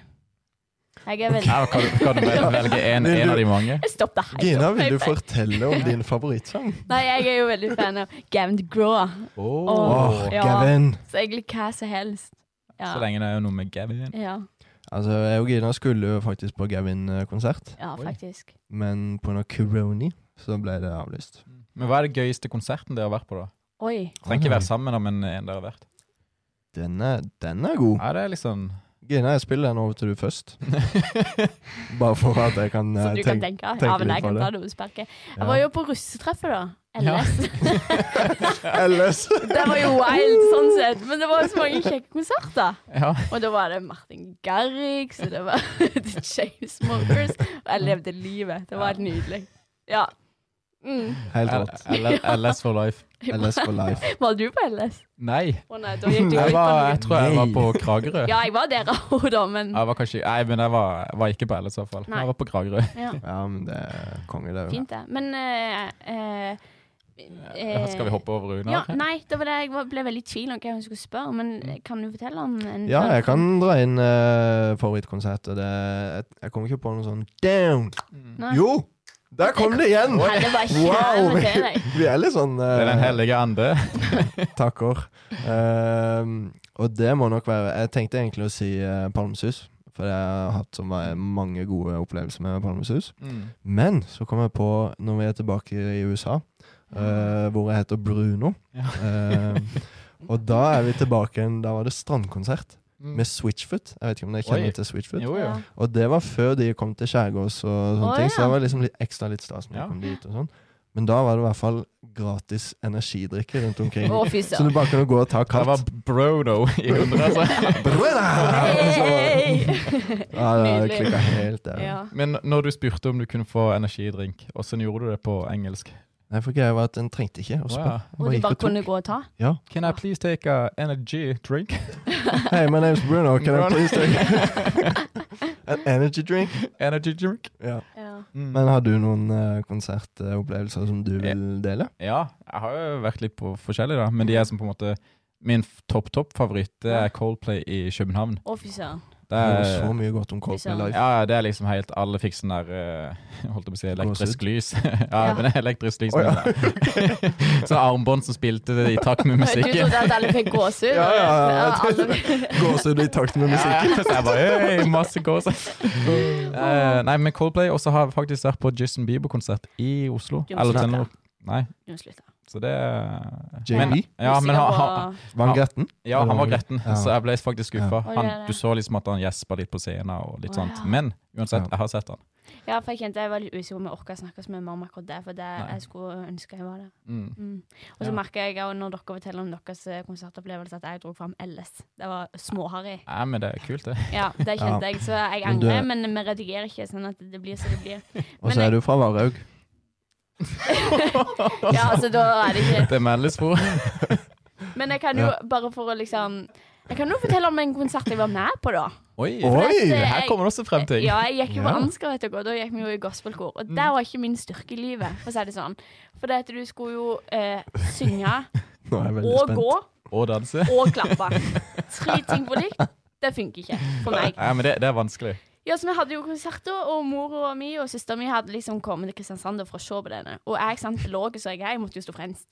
Speaker 2: Jeg er veldig
Speaker 3: Ja, Kan, du- kan du vel- velge en,
Speaker 1: Vil
Speaker 3: en
Speaker 1: du-
Speaker 3: av de mange?
Speaker 2: Jeg stoppet helt
Speaker 1: Gina,
Speaker 2: opp.
Speaker 1: vil du
Speaker 2: Jeg-
Speaker 1: fortelle om din favorittsang?
Speaker 2: Nei, jeg er jo veldig fan av Gavin Graw.
Speaker 1: Åh,
Speaker 2: Åh, ja.
Speaker 1: Gavin!
Speaker 2: Så egentlig hva som helst.
Speaker 3: Så
Speaker 2: Ja.
Speaker 3: lenge det er noe med Gavin.
Speaker 2: Ja,
Speaker 1: Altså, jeg og Gina skulle jo faktisk på Gavin-konsert,
Speaker 2: ja
Speaker 3: Oi.
Speaker 2: faktisk.
Speaker 1: men på noe coroni så ble det avlyst.
Speaker 3: Men hva er det gøyeste konserten dere har vært på, da?
Speaker 2: Oi.
Speaker 3: Trenger ikke være sammen, da, men en dere har vært.
Speaker 1: Den er, den er god.
Speaker 3: Ja, det er liksom
Speaker 1: Gina, jeg spiller den over til du først. Bare for at jeg kan
Speaker 2: Så
Speaker 1: eh,
Speaker 2: du kan
Speaker 1: tenke.
Speaker 2: tenke. Ja, men
Speaker 1: litt
Speaker 2: jeg
Speaker 1: på
Speaker 2: kan
Speaker 1: det.
Speaker 2: ta det utsparket. Jeg
Speaker 1: Ja.
Speaker 2: var jo på russetreffet, da.
Speaker 3: Ja.
Speaker 2: LS.
Speaker 1: Ellers
Speaker 2: Det var jo wild, sånn sett. Men det var jo så mange kjekke konserter.
Speaker 3: Ja.
Speaker 2: Og da var det Martin Garrix, og det var The Chainsmokers. Og jeg levde livet. Det var helt nydelig. Ja. Mm.
Speaker 1: Helt rått.
Speaker 3: L- L- LS for life.
Speaker 1: LS for life.
Speaker 2: Var du på LS?
Speaker 3: Nei.
Speaker 2: Å nei, da gikk du
Speaker 3: Jeg,
Speaker 2: ut på
Speaker 3: var,
Speaker 2: noe.
Speaker 3: jeg tror jeg var
Speaker 1: Nei.
Speaker 3: på Kragerø.
Speaker 2: Ja, jeg var der òg, da, men
Speaker 3: Jeg var kanskje, nei, men jeg var, jeg var ikke på LS i hvert fall.
Speaker 2: Nei.
Speaker 3: Jeg var på Kragerø.
Speaker 2: ja,
Speaker 1: Ja, men det er konge, det. er jo.
Speaker 2: Fint, det. Men eh, eh, eh,
Speaker 3: Skal vi hoppe over Runar?
Speaker 2: Ja, nei, det var det jeg var- ble veldig i tvil om hva hun skulle spørre, men kan du fortelle om en
Speaker 1: Ja, jeg kan dra inn eh, favorittkonsert. og Det, jeg, jeg kommer ikke på noe sånn Down!
Speaker 2: Nei.
Speaker 1: Jo! Der kom det igjen!
Speaker 2: Nei, det var ikke
Speaker 1: Wow!
Speaker 2: det til deg.
Speaker 1: Vi er litt sånn
Speaker 3: Det er
Speaker 1: uh,
Speaker 3: Den hellige ande.
Speaker 1: takker. Ehm, og det må nok være Jeg tenkte egentlig å si eh, Palmesus, for jeg har hatt så ma- mange gode opplevelser med Palmesus. Men så kom jeg på, når vi er tilbake i USA, eh, hvor jeg heter Bruno Eh, Og da er vi tilbake igjen. Da var det strandkonsert med Switchfoot. Jeg vet ikke om dere kjenner
Speaker 3: Oi.
Speaker 1: til Switchfoot?
Speaker 3: Jo, jo.
Speaker 2: Ja.
Speaker 1: Og det var før de kom til Skjærgårds og sånne
Speaker 2: Å,
Speaker 1: ting,
Speaker 2: ja.
Speaker 1: så det var liksom litt ekstra litt stas når de
Speaker 3: Ja.
Speaker 1: kom dit og sånn. Men da var det i hvert fall gratis energidrikke rundt omkring.
Speaker 2: Å, fy
Speaker 1: Så du
Speaker 2: søren.
Speaker 1: bare kunne gå og ta
Speaker 3: Det var
Speaker 1: kaldt.
Speaker 3: Brodo i hundre, altså.
Speaker 1: Brøda! Ja, det
Speaker 2: Nydelig.
Speaker 1: klikka helt der.
Speaker 2: Ja.
Speaker 3: Men når du spurte om du kunne få energidrink, åssen gjorde du det på engelsk?
Speaker 1: Nei, for greia var at en trengte ikke å
Speaker 3: Å,
Speaker 1: spørre.
Speaker 3: ja.
Speaker 2: Og de bare kunne gå og ta?
Speaker 3: Can I please take a energy drink?
Speaker 1: Hei, my name's Bruno. Can I
Speaker 3: Bruno.
Speaker 1: please take an energy drink?
Speaker 3: Energy drink?
Speaker 1: Ja.
Speaker 2: Ja.
Speaker 1: Men har du noen eh, konsertopplevelser som du vil dele?
Speaker 3: Ja, jeg har jo vært litt på forskjellig, da. Men de er som på en måte Min topp-topp-favoritt det er Coldplay i København.
Speaker 2: Å, fy søren.
Speaker 3: Det
Speaker 1: Det
Speaker 3: er,
Speaker 1: er så mye godt om Coldplay Live.
Speaker 3: ja, det er liksom helt Alle fikk sånn der eh, Holdt jeg på å si elektrisk lys. ja,
Speaker 2: Ja.
Speaker 3: men elektrisk lys.
Speaker 1: Å, ja.
Speaker 3: Sånn armbånd som spilte i takt med
Speaker 2: Du
Speaker 3: musikken.
Speaker 2: trodde at alle fikk gåsehud?
Speaker 1: Ja, ja, ja.
Speaker 2: alle
Speaker 1: Gåsehud i takt med
Speaker 3: Ja,
Speaker 1: musikken.
Speaker 3: ja. Så jeg bare «Øy, masse gås. Eh, nei, men Coldplay også har jeg faktisk vært på Justin Bieber-konsert i Oslo.
Speaker 2: Du må
Speaker 3: Eller
Speaker 2: slutte.
Speaker 3: Telenor. Nei,
Speaker 2: Du må slutte.
Speaker 3: så det
Speaker 1: JB?
Speaker 3: Men- Ja, men han, han,
Speaker 1: Van Gretten?
Speaker 3: ja, han var gretten,
Speaker 1: Ja.
Speaker 3: så jeg ble faktisk skuffa.
Speaker 2: Ja. Å, ja,
Speaker 3: Han-
Speaker 2: ja.
Speaker 3: Du så liksom at han gjespa litt på scenen og litt
Speaker 2: Å,
Speaker 3: sånt.
Speaker 2: ja.
Speaker 3: Men uansett,
Speaker 1: Ja.
Speaker 3: jeg har sett han.
Speaker 2: Ja, for jeg kjente jeg var litt usikker på om jeg orka å snakke så mye med mamma akkurat det, for det
Speaker 3: Nei.
Speaker 2: jeg skulle ønske jeg var der.
Speaker 3: Mm.
Speaker 2: Mm. Og så
Speaker 3: Ja.
Speaker 2: merker jeg også når dere forteller om deres eh, konsertopplevelse, at jeg dro fram LS. Det var småharry.
Speaker 3: Nei, men det er kult, det.
Speaker 2: Ja, det
Speaker 1: Ja.
Speaker 2: kjente jeg, så jeg
Speaker 1: Men du-
Speaker 2: angrer, men vi redigerer ikke, sånn at det blir som det blir.
Speaker 1: Og så
Speaker 2: Men
Speaker 1: er
Speaker 2: jeg-
Speaker 1: du fra Varhaug.
Speaker 2: Ja, altså da er det ikke
Speaker 3: Det meldes på.
Speaker 2: Men jeg kan jo, bare for å liksom Jeg kan jo fortelle om en konsert jeg var med på, da. eh,
Speaker 3: Oi!
Speaker 1: Oi!
Speaker 2: det-
Speaker 3: Her kommer det også frem ting.
Speaker 2: Ja, jeg gikk jo på
Speaker 1: Ja. Mm.
Speaker 2: Ansgar, vet dere, og da gikk vi jo i gospelkor. Og der var ikke min styrke i livet, for å si det sånn. For det at du skulle jo eh, synge
Speaker 1: Nå er jeg veldig
Speaker 2: og
Speaker 1: spent.
Speaker 2: gå
Speaker 3: Og danse.
Speaker 2: og klappe. Tre ting på likt. Det funker ikke for meg.
Speaker 3: Nei, men det, det er vanskelig.
Speaker 2: Ja, så Vi hadde jo konserter, og mora mi og søstera mi hadde liksom kommet til Kristiansand for å se på denne. Og jeg sant, låg så jeg er, jeg måtte jo stå fremst.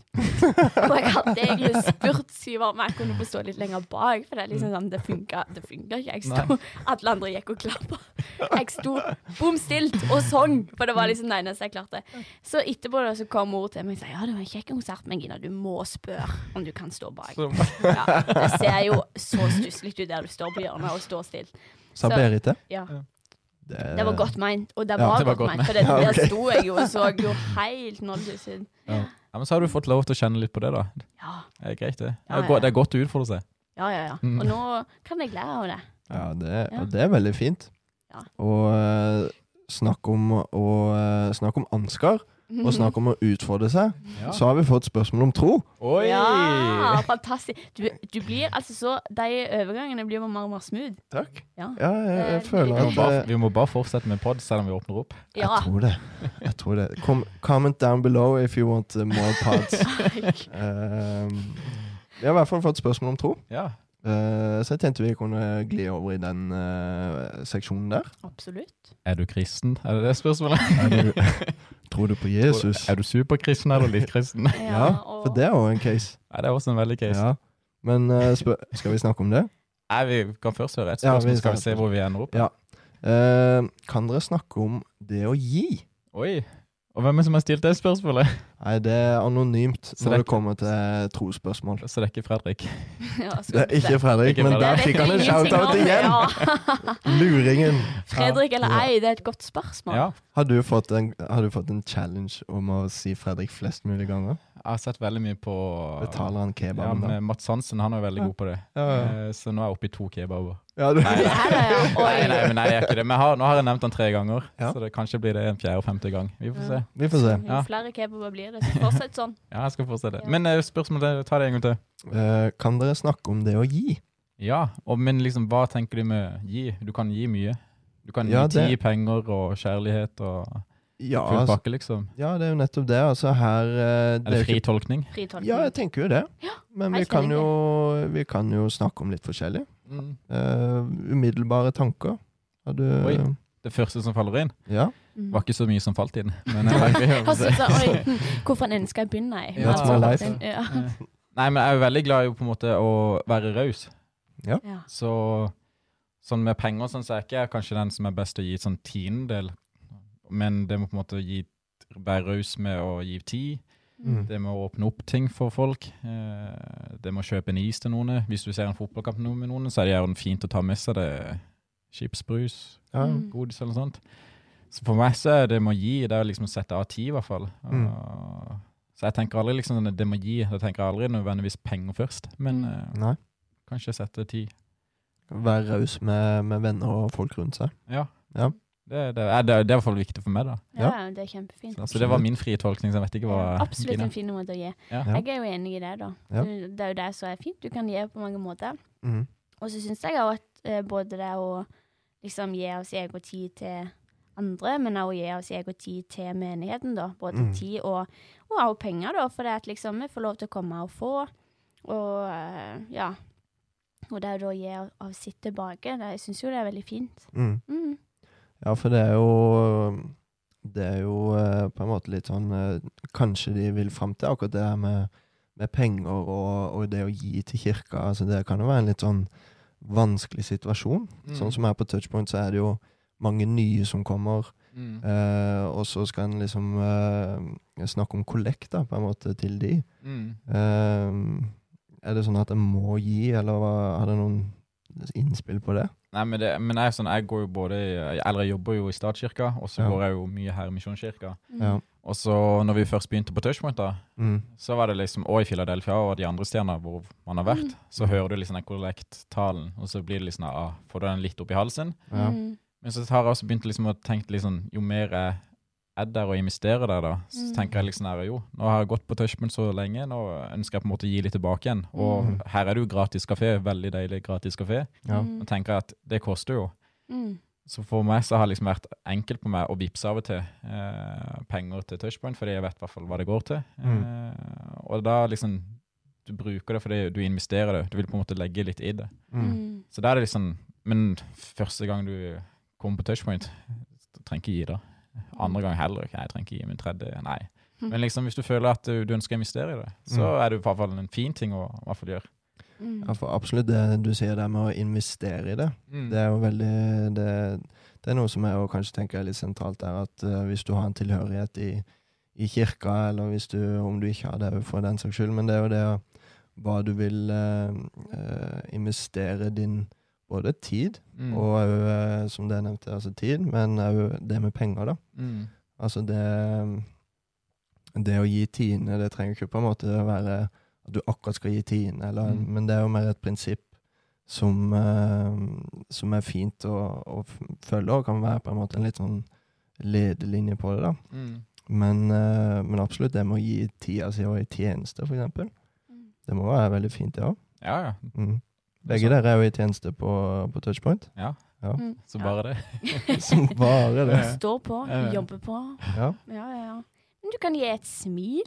Speaker 2: Og jeg hadde egentlig spurt Syver om jeg kunne få stå litt lenger bak, for det er liksom sånn, det funka det funka ikke. Jeg sto, Alle andre gikk og klappa. Jeg sto bom stilt og sang, for det var liksom det eneste jeg klarte. Så etterpå da, så kom mor til meg og sa ja, det var en kjekk konsert, men Gina, du må spørre om du kan stå bak.
Speaker 3: Så,
Speaker 2: Ja, det ser jo så stusslig ut der du står på hjørnet og står stilt.
Speaker 1: Sa Berit det?
Speaker 2: Ja.
Speaker 1: Det,
Speaker 2: Det var godt meint, og det
Speaker 1: Eh, Ja,
Speaker 2: var,
Speaker 3: det var
Speaker 2: godt,
Speaker 3: godt
Speaker 2: meint,
Speaker 3: meint.
Speaker 2: for det,
Speaker 1: Ja, ok.
Speaker 2: der sto jeg jo og så jo helt nådeløs ut.
Speaker 3: ja, men så har du fått lov til å kjenne litt på det, da.
Speaker 2: Ja,
Speaker 3: Det er greit, det.
Speaker 2: Ja,
Speaker 3: Det er go-
Speaker 2: ja.
Speaker 3: Det er godt å utfordre seg.
Speaker 2: ja, ja, ja.
Speaker 1: Mm.
Speaker 2: Og nå kan jeg lære av det.
Speaker 1: Ja, det, og det er veldig fint.
Speaker 2: Ja.
Speaker 1: Og eh, snakk om, å, eh, snakk om Ansgar, og snakk om å utfordre seg.
Speaker 3: Ja.
Speaker 1: Så har vi fått spørsmål om tro.
Speaker 3: Oi!
Speaker 2: Ja, fantastisk. Du, du blir altså så De overgangene blir bare mer og mer smooth.
Speaker 1: Takk.
Speaker 2: Ja.
Speaker 1: Ja, jeg, jeg
Speaker 2: Det-
Speaker 1: føler
Speaker 3: Vi må,
Speaker 1: at
Speaker 3: bare,
Speaker 1: eh,
Speaker 3: vi må bare fortsette med pod selv om vi åpner opp.
Speaker 2: Ja.
Speaker 1: Jeg tror det. Jeg tror det. Com comment down below if you want eh, more pods. Ehm, vi har i hvert fall fått spørsmål om tro,
Speaker 3: Ja.
Speaker 1: Eh, så jeg tenkte vi kunne gli over i den eh, seksjonen der.
Speaker 2: Absolutt.
Speaker 3: Er du kristen? Er det det spørsmålet?
Speaker 1: Er du, tror du på Jesus?
Speaker 3: Er du superkristen eller litt kristen?
Speaker 2: Ja,
Speaker 1: Ja,
Speaker 2: og,
Speaker 1: for det er jo en case.
Speaker 3: Nei, det er også en veldig case.
Speaker 1: Ja. Men eh, spør, skal vi snakke om det?
Speaker 3: Nei, vi kan først høre et
Speaker 1: Ja,
Speaker 3: spørsmål,
Speaker 1: vi
Speaker 3: så skal vi
Speaker 1: skal-
Speaker 3: se hvor vi ender opp.
Speaker 1: Ja. Eh, kan dere snakke om det å gi?
Speaker 3: Oi! Og hvem er det som har stilt det spørsmålet?
Speaker 1: Nei, det er anonymt
Speaker 3: Så det er
Speaker 1: når det
Speaker 3: ikke-
Speaker 1: kommer til trosspørsmål.
Speaker 3: Så det er ikke Fredrik.
Speaker 2: Ja, så
Speaker 1: Det er ikke Fredrik,
Speaker 3: Ikke
Speaker 1: men
Speaker 3: Fredrik.
Speaker 1: der fikk han en
Speaker 2: Det vet jeg
Speaker 1: shout-out
Speaker 2: ingenting
Speaker 1: igjen!
Speaker 2: om,
Speaker 1: Luringen.
Speaker 2: Ja. Fredrik eller ei, det er et godt spørsmål.
Speaker 3: Ja.
Speaker 1: Har du, fått en, har du fått en challenge om å si Fredrik flest mulig ganger?
Speaker 3: Jeg har sett veldig mye på
Speaker 1: Betaler han
Speaker 3: ja,
Speaker 1: kebaben, da?
Speaker 3: men Mats Hansen han er jo veldig god på det.
Speaker 1: Ja, ja.
Speaker 3: Eh, Så nå er jeg oppe i to kebaber.
Speaker 1: ja, du,
Speaker 3: Nei,
Speaker 2: Det
Speaker 3: nei,
Speaker 2: er det, ja.
Speaker 3: nei, nei,
Speaker 2: Oi.
Speaker 3: men nei, jeg er ikke det. Men jeg har, nå har jeg nevnt han tre ganger,
Speaker 1: Ja.
Speaker 3: så det kanskje blir det en fjerde og femte gang. Vi får se.
Speaker 1: vi får se.
Speaker 2: Jo flere kebaber blir det, så fortsett sånn.
Speaker 3: Ja, jeg skal fortsette.
Speaker 2: Ja.
Speaker 3: Men eh, spørsmålet, ta det en gang til.
Speaker 1: Eh, kan dere snakke om det å gi?
Speaker 3: Ja, og, men liksom, hva tenker du med gi? Du kan gi mye. Du kan
Speaker 1: Ja,
Speaker 3: gi tid,
Speaker 1: det-
Speaker 3: penger og kjærlighet og
Speaker 1: Ja,
Speaker 3: full
Speaker 1: altså,
Speaker 3: pakke, liksom.
Speaker 1: ja, det er jo nettopp det. Altså her eh, det
Speaker 3: Er det
Speaker 1: jo ikke-
Speaker 3: fritolkning?
Speaker 2: Fritolkning.
Speaker 1: Ja, jeg tenker jo det. Men vi
Speaker 2: helt
Speaker 1: kan
Speaker 2: enig.
Speaker 1: jo, vi kan jo snakke om litt forskjellig.
Speaker 3: Mm.
Speaker 1: Eh, umiddelbare tanker. Har du
Speaker 3: Oi. Det første som faller inn,
Speaker 1: Ja.
Speaker 2: Mm.
Speaker 3: var ikke så mye som falt inn. Men eh, jeg tenker, vi
Speaker 2: Han
Speaker 1: Altså,
Speaker 3: får se.
Speaker 2: synes at, Altså, Oi, hvorfor en ende skal jeg begynne? Jeg?
Speaker 3: Ja.
Speaker 1: That's my life.
Speaker 2: Ja.
Speaker 3: Nei, men jeg er jo veldig glad i på en måte å være raus.
Speaker 2: Ja.
Speaker 3: Så sånn med penger sånn, så er ikke jeg kanskje den som er best til å gi sånn tiendedel. Men det må på en måte gi, være raus med å gi tid.
Speaker 1: Mm.
Speaker 3: Det med å åpne opp ting for folk. eh, Det med å kjøpe en is til noen. Hvis du ser en fotballkamp nå med noen, så er det gjerne fint å ta med seg det. Chipsbrus,
Speaker 1: ja.
Speaker 2: Mm.
Speaker 3: godis eller sånt. Så for meg så er det med å gi, det er liksom å sette av tid i hvert fall.
Speaker 1: Mm.
Speaker 3: Og- Så jeg tenker aldri liksom det med å gi, jeg tenker aldri nødvendigvis penger først, men eh,
Speaker 1: Nei.
Speaker 3: kanskje sette tid.
Speaker 1: Være raus med, med venner og folk rundt seg.
Speaker 3: Ja.
Speaker 1: Ja.
Speaker 3: Det, det, er, det er i hvert fall viktig for meg, da.
Speaker 2: ja, det er kjempefint.
Speaker 3: Så det var min frie tolkning, så jeg vet ikke hva
Speaker 2: Absolutt
Speaker 3: Gina-
Speaker 2: en fin måte å gi.
Speaker 3: Ja.
Speaker 2: Jeg er jo enig i det, da.
Speaker 1: Ja.
Speaker 2: Du- Det er jo det som er fint. Du kan gi på mange måter.
Speaker 1: Mm.
Speaker 2: Og så syns jeg også at eh, både det å liksom gi oss egen tid til andre, men også gi oss egen tid til menigheten, da. Både
Speaker 1: Mm.
Speaker 2: tid og, og også penger, da, for det at liksom vi får lov til å komme og få. Og eh, ja. Og det å da gi av- av sitt tilbake, det, jeg syns jo det er veldig fint.
Speaker 1: Mm.
Speaker 2: Mm.
Speaker 1: Ja, for det er jo Det er jo eh, på en måte litt sånn eh, Kanskje de vil fram til akkurat det her med, med penger og, og det å gi til kirka. Altså, det kan jo være en litt sånn vanskelig situasjon.
Speaker 3: Mm.
Speaker 1: Sånn som her på Touchpoint, så er det jo mange nye som kommer.
Speaker 3: Mm.
Speaker 1: Eh, og så skal en liksom eh, snakke om kollekt, da, på en måte, til de.
Speaker 3: Mm.
Speaker 1: Eh, er det sånn at en må gi, eller hva, har det noen innspill på det?
Speaker 3: Nei, men, det, men jeg, er sånn, jeg går jo både i, Eller jeg jobber jo i statskirka, og så
Speaker 1: Ja.
Speaker 3: går jeg jo mye her i Misjonskirka.
Speaker 2: Mm.
Speaker 1: Ja.
Speaker 3: Og så når vi først begynte på Touchpoint, da,
Speaker 1: Mm.
Speaker 3: så var det liksom Og i Philadelphia og de andre stedene hvor man har vært,
Speaker 2: Mm.
Speaker 3: så hører du liksom den kollekttalen, og så blir det liksom ah, Får du den litt opp i halsen?
Speaker 1: Ja.
Speaker 2: Mm.
Speaker 3: Men så har jeg også begynt liksom å tenke liksom, jo mer jeg er der og investerer der, da, så
Speaker 2: Mm.
Speaker 3: tenker jeg liksom her, jo, nå har jeg gått på Touchman så lenge, nå ønsker jeg på en måte å gi litt tilbake igjen. Og
Speaker 1: Mm.
Speaker 3: her er det jo gratis kafé, veldig deilig gratis kafé.
Speaker 1: Ja.
Speaker 3: Nå
Speaker 2: Mm.
Speaker 3: tenker jeg at det koster jo.
Speaker 2: Mm.
Speaker 3: Så for meg så har det liksom vært enkelt på meg å vippse av og til eh, penger til Touchpoint, fordi jeg vet i hvert fall hva det går til.
Speaker 1: Mm.
Speaker 3: Eh, og da liksom Du bruker det fordi du investerer det. Du vil på en måte legge litt i det.
Speaker 1: Mm.
Speaker 2: Mm.
Speaker 3: Så da er det liksom Men første gang du kommer på touchpoint, du trenger ikke gi da. Andre gang heller ikke. Jeg trenger ikke gi min tredje. Nei. Men liksom hvis du føler at du, du ønsker å investere i det, så
Speaker 1: Mm.
Speaker 3: er det i hvert fall en fin ting å i hvert fall gjøre.
Speaker 2: Mm.
Speaker 1: Ja, for absolutt det du sier der med å investere i det.
Speaker 3: Mm.
Speaker 1: Det er jo veldig Det, det er noe som jeg jo kanskje tenker er litt sentralt der, at eh, hvis du har en tilhørighet i, i kirka, eller hvis du, om du ikke har det for den saks skyld, men det er jo det å- hva du vil eh, eh, investere din både tid
Speaker 3: Mm.
Speaker 1: og òg, eh, som det nevnte, altså tid, men òg det med penger, da.
Speaker 3: Mm.
Speaker 1: Altså det Det å gi tiende, det trenger ikke på en måte å være at du akkurat skal gi tiende, eller,
Speaker 3: Mm.
Speaker 1: men det er jo mer et prinsipp som, eh, som er fint å, å f- følge, og kan være på en måte en litt sånn ledelinje på det. da.
Speaker 3: Mm.
Speaker 1: Men, eh, men absolutt, det med å gi tida si og i tjeneste, for eksempel,
Speaker 2: Mm.
Speaker 1: det må være veldig fint, det òg.
Speaker 3: Ja, ja.
Speaker 1: Mm. Begge
Speaker 3: Så-
Speaker 1: dere er jo i tjeneste på, på touchpoint,
Speaker 3: Ja,
Speaker 2: Mm.
Speaker 3: så bare det.
Speaker 1: som bare det.
Speaker 2: Står på,
Speaker 3: Ja, ja.
Speaker 2: jobber på.
Speaker 1: Ja.
Speaker 2: Ja, ja, ja. Men du kan gi et smil.